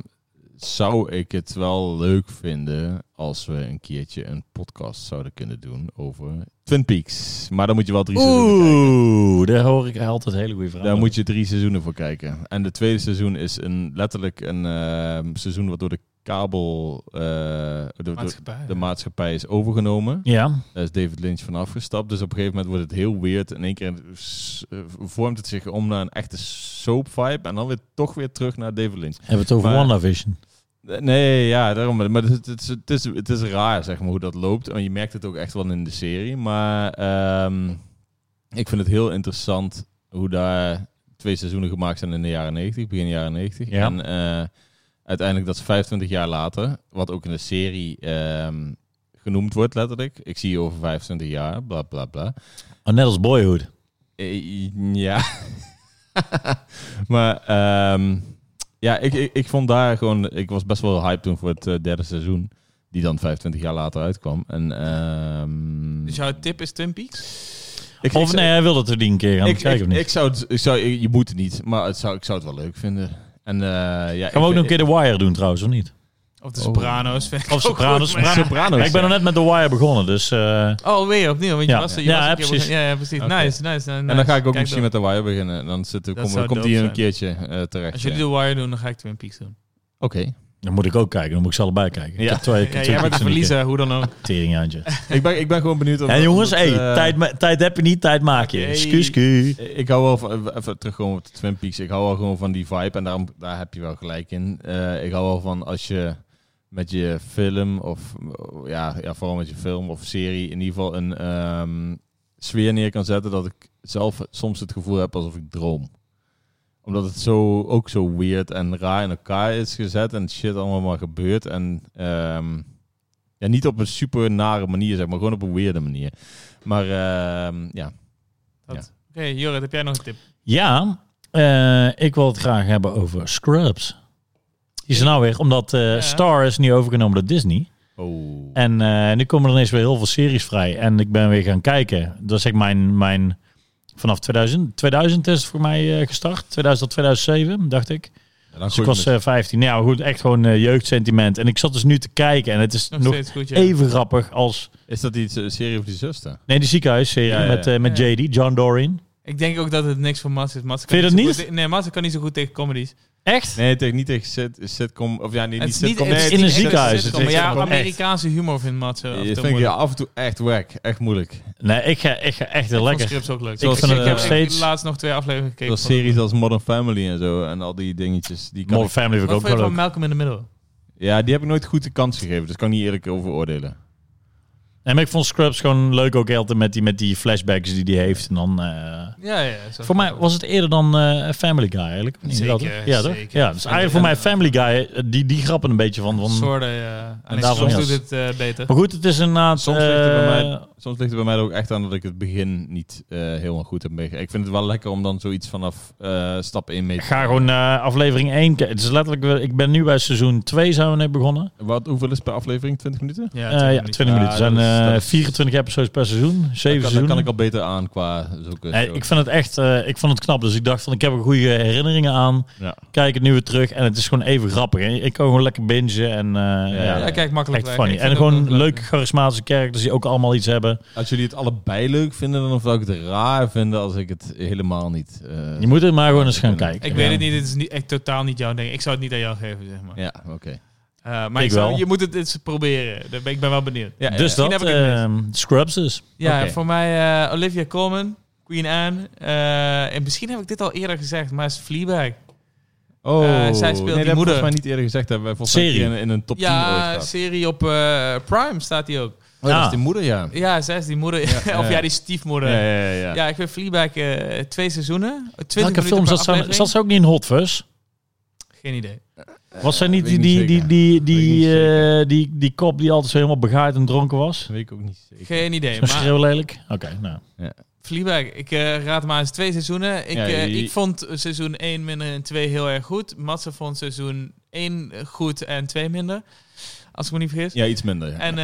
Speaker 1: zou ik het wel leuk vinden als we een keertje een podcast zouden kunnen doen over Twin Peaks. Maar dan moet je wel drie seizoenen kijken.
Speaker 2: Oeh, daar hoor ik altijd hele goede vragen.
Speaker 1: Daar moet je drie seizoenen voor kijken. En de tweede seizoen is een, letterlijk een ehm, seizoen wat door de kabel, eh, door, door
Speaker 3: Maatschappij.
Speaker 1: de maatschappij is overgenomen.
Speaker 2: Ja,
Speaker 1: Daar is David Lynch van afgestapt. Dus op een gegeven moment wordt het heel weird. In één keer s- eh, vormt het zich om naar een echte soap vibe. En dan weer toch weer terug naar David Lynch.
Speaker 2: hebben we het over
Speaker 1: Maar-
Speaker 2: WandaVision.
Speaker 1: Eh, Nee, ja, daarom. Maar het, het, is- het, is, het is raar, zeg maar, hoe dat loopt. En je merkt het ook echt wel in de serie. Maar ehm, ik vind het heel interessant hoe daar twee seizoenen gemaakt zijn in de jaren 90, begin jaren 90.
Speaker 2: Ja.
Speaker 1: En eh, uiteindelijk dat is 25 jaar later, wat ook in de serie ehm, genoemd wordt letterlijk. Ik zie je over 25 jaar, bla bla bla.
Speaker 2: Oh, net als Boyhood.
Speaker 1: Eh, Ja. maar ehm, ja, ik, ik, ik vond daar gewoon... Ik was best wel hyped toen voor het eh, derde seizoen. Die dan 25 jaar later uitkwam. En, ehm,
Speaker 3: Dus jouw tip is Twin Peaks?
Speaker 1: ik,
Speaker 2: Of nee, hij wil dat we die een keer gaan
Speaker 1: ik, ik,
Speaker 2: kijken
Speaker 1: ik,
Speaker 2: of niet.
Speaker 1: ik zou het... Ik zou, ik- je moet het niet, maar het zou, ik zou het wel leuk vinden. En, eh, ja, ik
Speaker 2: Gaan we ook
Speaker 1: vind-
Speaker 2: nog een keer The Wire doen trouwens, of niet?
Speaker 3: Of de
Speaker 1: Oh.
Speaker 3: Soprano's? vind ik
Speaker 2: Of
Speaker 3: ook
Speaker 2: Sopranos.
Speaker 3: goed, maar-
Speaker 1: Sopranos,
Speaker 2: Ja, ik ben nog net met The Wire begonnen, dus... eh,
Speaker 3: Oh, weer opnieuw. Want je
Speaker 2: Ja.
Speaker 3: was, er- je
Speaker 2: Ja,
Speaker 3: was
Speaker 2: ja,
Speaker 3: een keer
Speaker 2: precies.
Speaker 3: begonnen. Ja, ja, precies.
Speaker 1: Oké.
Speaker 3: Nice, nice,
Speaker 1: En dan ga ik ook misschien met de Wire beginnen. Dan zit, kom,
Speaker 3: zou
Speaker 1: komt
Speaker 3: dope
Speaker 1: die een
Speaker 3: zijn.
Speaker 1: keertje eh, terecht.
Speaker 3: Als jullie
Speaker 1: ja.
Speaker 3: de Wire doen, dan ga ik Twin Peaks doen.
Speaker 1: Oké.
Speaker 2: dan moet ik ook kijken, dan moet ik ze allebei kijken. Ik
Speaker 1: Ja.
Speaker 2: heb twee, ik heb
Speaker 3: Ja,
Speaker 2: twee
Speaker 3: jij bent de
Speaker 2: boeken in één keer.
Speaker 3: verliezer, hoe dan ook.
Speaker 2: Teringjaantje.
Speaker 1: ik, ben, ik ben gewoon benieuwd... Of,
Speaker 2: En jongens,
Speaker 1: of
Speaker 2: hey,
Speaker 1: het, eh,
Speaker 2: tijd, ma- tijd heb je niet, tijd maak je.
Speaker 1: Hey.
Speaker 2: Skus, skus.
Speaker 1: Ik hou wel van, eh, even- even terugkomen op de Twin Peaks, ik hou wel gewoon van die vibe en daarom, daar heb je wel gelijk in. Eh, ik hou wel van als je met je film of eh, ja, ja, vooral met je film of serie in ieder geval een ehm, sfeer neer kan zetten dat ik zelf soms het gevoel heb alsof ik droom. Omdat het zo, ook zo weird en raar in elkaar is gezet en shit allemaal maar gebeurt en... ehm, ja, niet op een super nare manier, zeg maar. Gewoon op een weirde manier. Maar ehm, ja,
Speaker 3: Dat- Oké, Hey, Jorrit, heb jij nog een tip?
Speaker 2: Ja, eh, ik wil het graag hebben over Scrubs. Die is er nou weer, omdat eh,
Speaker 3: Ja.
Speaker 2: Star is nu overgenomen door Disney.
Speaker 1: Oh.
Speaker 2: En eh, nu komen er ineens weer heel veel series vrij. En ik ben weer gaan kijken. Dat is echt mijn... mijn vanaf 2000, 2000 is het voor mij eh, gestart. 2000 tot 2007, dacht ik.
Speaker 1: Ja, dan
Speaker 2: Dus ik
Speaker 1: gooi
Speaker 2: was
Speaker 1: hem
Speaker 2: eh, 15. Nou Ja, goed, echt gewoon eh, jeugdsentiment. En ik zat dus nu te kijken. En het is
Speaker 3: Nog,
Speaker 2: nog
Speaker 3: steeds goed, ja.
Speaker 2: even grappig als...
Speaker 1: in. Is dat iets, een serie of die zuster?
Speaker 2: Nee, die ziekenhuisserie
Speaker 1: Ja, ja, ja.
Speaker 2: met, eh, met
Speaker 3: Ja.
Speaker 2: JD, John Doreen.
Speaker 3: Ik denk ook dat het niks voor Mats is. Mats kan
Speaker 2: Vind je
Speaker 3: zo
Speaker 2: dat
Speaker 3: goed
Speaker 2: niet?
Speaker 3: te- nee, Mats kan niet zo goed tegen comedies.
Speaker 2: Echt?
Speaker 1: Nee, tegen, niet tegen sit, sitcom. Of ja, niet,
Speaker 3: Het
Speaker 1: niet
Speaker 3: is niet-
Speaker 1: sitcom.
Speaker 3: het
Speaker 1: nee,
Speaker 2: in
Speaker 3: is niet
Speaker 2: een
Speaker 3: echt
Speaker 2: ziekenhuis.
Speaker 3: een sitcom,
Speaker 2: Het is
Speaker 3: maar ja,
Speaker 2: gewoon echt.
Speaker 3: Amerikaanse humor vindt Mats eh, af en toe
Speaker 1: Dat vind ik
Speaker 3: moeilijk.
Speaker 1: ja, af en toe echt wack. Echt moeilijk.
Speaker 2: Nee, ik ga, ik ga echt heel
Speaker 3: Vond
Speaker 2: lekker.
Speaker 3: Scripts ook leuk.
Speaker 2: Zoals
Speaker 3: ik,
Speaker 2: van,
Speaker 3: ik
Speaker 2: eh,
Speaker 3: heb echt
Speaker 2: steeds-
Speaker 3: laatst nog twee afleveringen gekeken.
Speaker 1: Zoals series als Modern Family en zo. En al die dingetjes. Die kan
Speaker 2: Modern
Speaker 1: ik-
Speaker 2: Family vind ik
Speaker 3: Wat
Speaker 2: ook
Speaker 3: vond je
Speaker 2: wel
Speaker 3: van
Speaker 2: leuk.
Speaker 3: Malcolm in the Middle?
Speaker 1: ja, die heb ik nooit goed de kans gegeven. Dus kan ik niet eerlijk over oordelen.
Speaker 2: En ik vond Scrubs gewoon leuk ook altijd met die, met die flashbacks die die heeft. En dan, eh,
Speaker 3: Ja, ja. zo.
Speaker 2: voor mij was het eerder dan eh, Family Guy eigenlijk. of niet?
Speaker 3: Zeker,
Speaker 2: Dat, hè? ja, toch?
Speaker 3: zeker.
Speaker 2: Ja, dus eigenlijk voor mij Family Guy, eh, die, die grappen een beetje van. van
Speaker 3: Soorten, ja. En
Speaker 2: daarvan
Speaker 3: soms
Speaker 2: ja.
Speaker 3: doet het eh, beter.
Speaker 2: maar goed, het is inderdaad...
Speaker 1: Soms ligt het bij
Speaker 2: eh,
Speaker 1: mij- Soms ligt het bij mij er ook echt aan dat ik het begin niet eh, helemaal goed heb meegekregen. Ik vind het wel lekker om dan zoiets vanaf eh, stap 1 mee te
Speaker 2: Ga gewoon eh, aflevering 1 kijken. Het is letterlijk, weer- ik ben nu bij seizoen 2 zijn we net begonnen.
Speaker 1: Wat, hoeveel is per aflevering? 20 minuten?
Speaker 3: Ja,
Speaker 2: Eh,
Speaker 3: twintig
Speaker 2: ja,
Speaker 3: minuten.
Speaker 2: 20 minuten.
Speaker 1: Ja,
Speaker 2: Er zijn
Speaker 1: dat is-
Speaker 2: eh,
Speaker 1: dat is-
Speaker 2: 24 episodes per seizoen. 7
Speaker 1: Dat kan, dat
Speaker 2: seizoenen.
Speaker 1: kan ik al beter aan qua zulke
Speaker 2: Nee,
Speaker 1: shows.
Speaker 2: ik vind het echt, eh, ik vond het knap. Dus ik dacht van, ik heb er goede herinneringen aan.
Speaker 1: Ja.
Speaker 2: Kijk het nu weer terug en het is gewoon even grappig. hè. Ik kan gewoon lekker bingen en eh, ja,
Speaker 1: ja,
Speaker 3: Ja, kijk, makkelijk
Speaker 2: echt
Speaker 3: weg.
Speaker 2: funny.
Speaker 3: Ik
Speaker 2: En
Speaker 3: vind het ook
Speaker 2: gewoon
Speaker 3: leuk.
Speaker 2: leuke charismatische characters die ook allemaal iets hebben.
Speaker 1: Als jullie het allebei leuk vinden, dan of zou ik het raar vinden als ik het helemaal niet... eh,
Speaker 2: Je moet het maar gewoon eens gaan
Speaker 1: Ik
Speaker 2: kijken.
Speaker 3: Ik weet het niet, het is niet, echt totaal niet jouw ding. Ik zou het niet aan jou geven, zeg maar.
Speaker 1: Ja, oké.
Speaker 3: Eh, maar
Speaker 2: Ik
Speaker 3: ik zou-
Speaker 2: wel.
Speaker 3: je moet het eens proberen. Daar ben- Ik ben wel benieuwd.
Speaker 1: Ja,
Speaker 2: dus
Speaker 1: ja.
Speaker 3: misschien
Speaker 2: dat,
Speaker 3: heb ik het
Speaker 2: ehm, Scrubs dus.
Speaker 3: Ja,
Speaker 1: Oké.
Speaker 3: voor mij eh, Olivia Colman, Queen Anne. eh, en misschien heb ik dit al eerder gezegd, maar is Fleabag.
Speaker 1: Oh,
Speaker 3: Eh, zij speelt
Speaker 1: nee, dat
Speaker 3: die
Speaker 1: hebben we
Speaker 3: moeder.
Speaker 1: volgens mij niet eerder gezegd. Hebben wij volgens mij
Speaker 2: Serie.
Speaker 1: in, in een top 10 ooit
Speaker 3: ja,
Speaker 1: gehad.
Speaker 3: serie op eh, Prime staat die ook.
Speaker 1: Oh, dat
Speaker 2: Ah.
Speaker 1: is die moeder, ja.
Speaker 3: Ja, zij is die moeder.
Speaker 1: Ja,
Speaker 3: of
Speaker 1: ja.
Speaker 3: ja, die stiefmoeder.
Speaker 1: Ja,
Speaker 3: Ja,
Speaker 1: ja, ja.
Speaker 3: ik vind Fleabag eh, twee seizoenen. 20
Speaker 2: Welke
Speaker 3: minuten
Speaker 2: film
Speaker 3: per
Speaker 2: zat ze,
Speaker 3: aflevering.
Speaker 2: zat ze ook niet in Hot Fuzz?
Speaker 3: Geen idee.
Speaker 2: Was zij niet
Speaker 1: Eh, weet
Speaker 2: die,
Speaker 1: ik
Speaker 2: die,
Speaker 1: niet
Speaker 2: die,
Speaker 1: zeker.
Speaker 2: die,
Speaker 1: Weet ik
Speaker 2: die,
Speaker 1: niet
Speaker 2: eh, die, die kop die altijd zo helemaal begaaid en dronken was?
Speaker 1: Dat weet ik ook niet zeker.
Speaker 3: Geen idee.
Speaker 2: Zo
Speaker 3: Maar
Speaker 2: schreeuw lelijk? Oké, nou.
Speaker 3: Fleabag, ik eh, raad maar eens twee seizoenen. Ik,
Speaker 1: Ja,
Speaker 3: eh,
Speaker 1: je-
Speaker 3: ik vond seizoen 1 minder en 2 heel erg goed. Matze vond seizoen 1 goed en 2 minder. Als ik me niet vergis.
Speaker 1: Ja, iets minder. Ja.
Speaker 3: En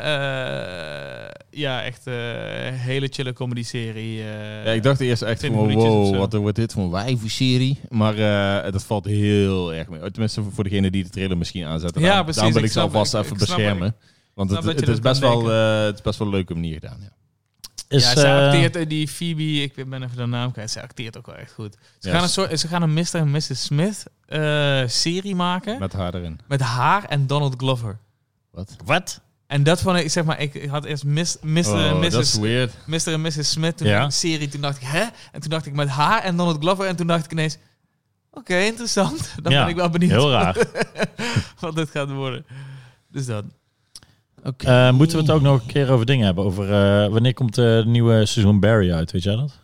Speaker 3: eh, eh, ja, echt eh, een hele chille comedy serie. eh.
Speaker 1: ja, ik dacht eerst echt
Speaker 3: 20
Speaker 1: gewoon,
Speaker 3: minuutjes of
Speaker 1: wow,
Speaker 3: zo.
Speaker 1: wat wordt dit voor een wijvenserie? Maar eh, dat valt heel erg mee. Oh, Tenminste, voor degene die de trailer misschien aanzetten.
Speaker 3: Ja,
Speaker 1: daarom,
Speaker 3: precies,
Speaker 1: Daarom wil
Speaker 3: ik
Speaker 1: ik, ze
Speaker 3: snap-
Speaker 1: alvast
Speaker 3: ik-
Speaker 1: even
Speaker 3: ik snap-
Speaker 1: beschermen. Want
Speaker 3: snap
Speaker 1: het,
Speaker 3: dat je
Speaker 1: het, is
Speaker 3: dat kan
Speaker 1: best wel,
Speaker 3: denken.
Speaker 1: eh, het is best wel een leuke manier gedaan. Ja.
Speaker 2: Is,
Speaker 3: ja, ze
Speaker 2: eh,
Speaker 3: acteert eh, die Phoebe, ik ben even de naam kwijt, ze acteert ook wel echt goed. Ze,
Speaker 1: Ja,
Speaker 3: gaan,
Speaker 1: ze-
Speaker 3: een soort, ze gaan een Mr. en Mrs. Smith eh, serie maken met,
Speaker 1: Met haar erin.
Speaker 3: haar en Donald Glover.
Speaker 1: Wat?
Speaker 2: Wat?
Speaker 3: En dat vond ik, zeg maar, ik had eerst mis, Mr. en
Speaker 1: Oh, dat is
Speaker 3: Mrs.
Speaker 1: weird.
Speaker 3: Mr. en Mrs. Smith toen
Speaker 2: Ja.
Speaker 3: een serie. Toen dacht ik, hè? En toen dacht ik met haar en Donald Glover. En toen dacht ik ineens, oké, interessant. Dan
Speaker 2: Ja,
Speaker 3: ben ik wel benieuwd
Speaker 2: Heel raar.
Speaker 3: wat dit gaat worden. Dus
Speaker 2: Oh,
Speaker 3: dat.
Speaker 2: Eh, moeten we het ook nog een keer over dingen hebben? Over eh, wanneer komt eh, het nieuwe seizoen Barry uit? Weet jij dat?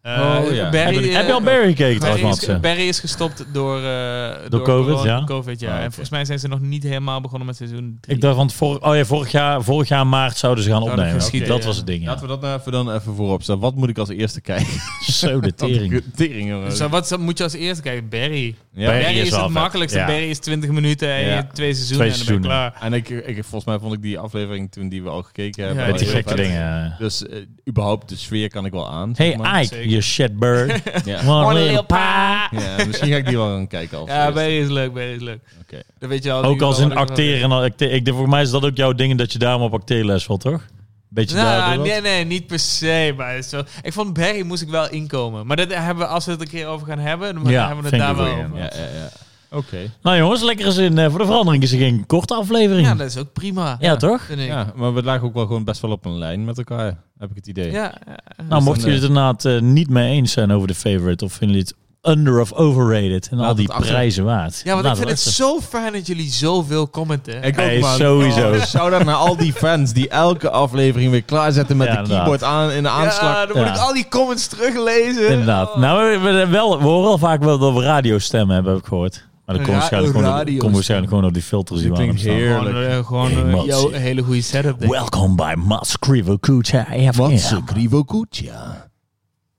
Speaker 3: Eh,
Speaker 1: Oh, ja.
Speaker 2: Heb
Speaker 3: Barry,
Speaker 2: je, heb je
Speaker 3: eh,
Speaker 2: al Barry gekeken
Speaker 3: Barry
Speaker 2: trouwens,
Speaker 3: is,
Speaker 2: Matze?
Speaker 3: Barry is gestopt door, eh, door,
Speaker 2: COVID, ja.
Speaker 3: COVID, ja.
Speaker 1: Ah, oké.
Speaker 3: En volgens mij zijn ze nog niet helemaal begonnen met seizoen 3.
Speaker 2: Ik dacht, want vor, oh ja, vorig, jaar, vorig jaar maart zouden ze gaan
Speaker 3: Zouden
Speaker 2: opnemen.
Speaker 3: geschieden,
Speaker 2: Dat
Speaker 3: ja.
Speaker 2: was het ding, ja.
Speaker 1: Laten we dat nou even, dan even voorop staan. Wat moet ik als eerste kijken? Oh,
Speaker 2: Zo de tering.
Speaker 1: Tering, jongen.
Speaker 3: Dus wat moet je als eerste kijken? Barry.
Speaker 1: Ja.
Speaker 2: Barry
Speaker 3: Barry,
Speaker 2: is
Speaker 3: is,
Speaker 2: wel
Speaker 3: het
Speaker 2: vet,
Speaker 3: makkelijkste.
Speaker 2: ja.
Speaker 3: Barry is 20 minuten en
Speaker 1: Ja.
Speaker 3: je hebt twee seizoenen
Speaker 2: Twee
Speaker 3: en dan ben je klaar.
Speaker 1: En ik, ik, volgens mij vond ik die aflevering toen die we al gekeken hebben. wel
Speaker 3: Ja,
Speaker 2: Met die
Speaker 1: heel
Speaker 2: gekke
Speaker 1: vet.
Speaker 2: dingen.
Speaker 1: Dus eh, überhaupt de sfeer kan ik wel aan. zeg
Speaker 2: Hey
Speaker 1: maar.
Speaker 2: Ike,
Speaker 3: zeker.
Speaker 2: you shitbird.
Speaker 1: Ja.
Speaker 2: One
Speaker 3: One
Speaker 2: little
Speaker 3: little
Speaker 2: pa.
Speaker 1: ja, misschien ga ik die wel gaan kijken. Als
Speaker 3: Ja,
Speaker 1: eerste.
Speaker 3: Barry is leuk, Barry is leuk.
Speaker 1: Oké.
Speaker 3: Dat weet je al.
Speaker 2: Ook als in
Speaker 3: een
Speaker 2: acteren. en al acte- Ik, denk, voor mij is dat ook jouw ding dat je daarom op acteerles valt, toch? Beetje daar.
Speaker 3: Nou, nee, nee, niet per se. Maar het is wel- ik vond Barry moest ik wel inkomen. Maar dat hebben we, als we het een keer over gaan hebben, dan
Speaker 2: Ja,
Speaker 3: hebben we
Speaker 2: vind
Speaker 3: het
Speaker 2: ik
Speaker 3: daar
Speaker 2: een
Speaker 3: wel
Speaker 2: goeie,
Speaker 3: over.
Speaker 1: Ja, ja, ja. Oké.
Speaker 2: Nou jongens, lekker eens in. eh, voor de verandering is er geen korte aflevering.
Speaker 3: Ja,
Speaker 2: Ja,
Speaker 3: dat is ook prima.
Speaker 2: toch?
Speaker 3: Vind ik.
Speaker 1: Ja, maar we lagen ook wel gewoon best wel op een lijn met elkaar, heb ik het idee.
Speaker 3: Ja, ja.
Speaker 1: Dus
Speaker 2: Nou, mochten
Speaker 1: dan,
Speaker 2: jullie het inderdaad eh, niet mee eens zijn over de favorite, of vinden jullie het under of overrated en
Speaker 1: Laat
Speaker 2: al die
Speaker 1: het achter.
Speaker 2: prijzen waard? Nou,
Speaker 3: Ja, want
Speaker 2: laat
Speaker 3: ik vind het
Speaker 2: achter.
Speaker 3: zo fijn dat jullie zoveel commenten.
Speaker 1: Ik
Speaker 2: Hey,
Speaker 1: ook, man.
Speaker 2: sowieso.
Speaker 1: Oh, shout-out naar al die fans die elke aflevering weer klaarzetten met
Speaker 2: Ja,
Speaker 1: de
Speaker 2: inderdaad.
Speaker 1: keyboard aan in de aanslag.
Speaker 3: Ja, dan moet
Speaker 2: Ja.
Speaker 3: ik al die comments teruglezen.
Speaker 2: Inderdaad.
Speaker 3: Oh.
Speaker 2: Nou, we, we- wel, we horen wel vaak wel dat we radiostemmen hebben, heb ik gehoord. Maar dat komt
Speaker 3: Ra-
Speaker 2: waarschijnlijk, gewoon op,
Speaker 1: radiostem.
Speaker 2: komt waarschijnlijk gewoon op die
Speaker 3: Dus
Speaker 2: filters die
Speaker 1: Dit
Speaker 2: we aan
Speaker 1: klinkt
Speaker 2: hebben staan.
Speaker 1: heerlijk.
Speaker 3: gewoon eh, gewoon eh,
Speaker 2: Emotie.
Speaker 3: jouw hele goede setup. denk ik.
Speaker 2: Welkom bij Mats Krivokucha FM.
Speaker 1: Krivokucha.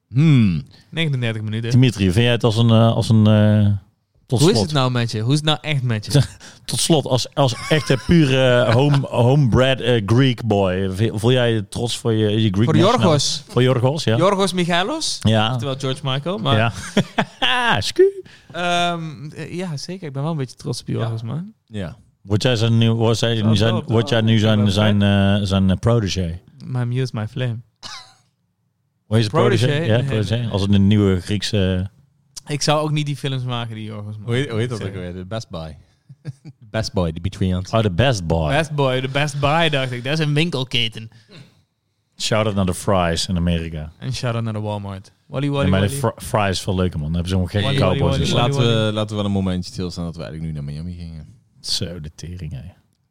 Speaker 1: Hmm.
Speaker 3: 39 minuten.
Speaker 2: Dimitri, vind jij het als een... eh, als een eh, tot
Speaker 3: Hoe
Speaker 2: slot.
Speaker 3: is het nou met je? Hoe is het nou echt met je?
Speaker 2: Tot slot, als, als echte pure eh, home, homebred eh, Greek boy. v- Voel jij je trots voor je, je Greek
Speaker 3: Voor
Speaker 2: national-
Speaker 3: Jorgos.
Speaker 2: Voor Jorgos, ja.
Speaker 3: Jorgos Michalos.
Speaker 2: ja.
Speaker 3: Terwijl George Michael. Maar,
Speaker 2: Ja. Sku.
Speaker 3: Ehm, eh, ja, zeker. Ik ben wel een beetje trots op Jorgos, man.
Speaker 1: Ja.
Speaker 2: Word jij zijn nieuw, word jij nu zijn, word jij nu zijn, zijn, eh, zijn eh, protege?
Speaker 3: My muse, my flame.
Speaker 2: Hoe is het protege?
Speaker 3: Protégé?
Speaker 2: Ja,
Speaker 3: Nee,
Speaker 2: protégé.
Speaker 3: nee, nee.
Speaker 2: Als het een nieuwe Griekse...
Speaker 3: Ik zou ook niet die films maken die Jorgos maakt.
Speaker 1: Hoe heet, hoe heet dat ook alweer? De Best Buy. Best Buy, de Betrians.
Speaker 2: Oh, the best boy.
Speaker 3: Best Boy, de Best Buy, dacht ik. Dat is een winkelketen.
Speaker 2: Shout out naar de fries in Amerika.
Speaker 3: En shout-out naar de Walmart. Wally
Speaker 2: Ja,
Speaker 3: Wally
Speaker 2: maar de
Speaker 3: Wally.
Speaker 2: fr- fries is veel leuker, man. Dan hebben ze gewoon gekke
Speaker 3: Wally, wally,
Speaker 2: cowboys. en
Speaker 3: wally,
Speaker 2: zo.
Speaker 3: wally.
Speaker 1: dus Laten we, laten we wel een momentje stilstaan dat we eigenlijk nu naar Miami gingen.
Speaker 2: Zo, de tering, hè.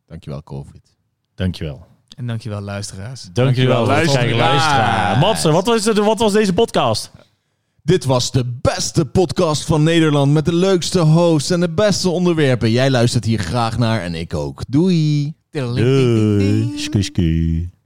Speaker 1: Dankjewel, COVID.
Speaker 2: Dankjewel.
Speaker 3: En dankjewel, luisteraars.
Speaker 2: Dankjewel, luisteraar.
Speaker 1: luisteraar.
Speaker 2: luisteraar. Matze, wat was, dit- wat was deze podcast?
Speaker 1: Dit was de beste podcast van Nederland met de leukste hosts en de beste onderwerpen. Jij luistert hier graag naar en ik ook. Doei!
Speaker 2: Doei. Sku, sku.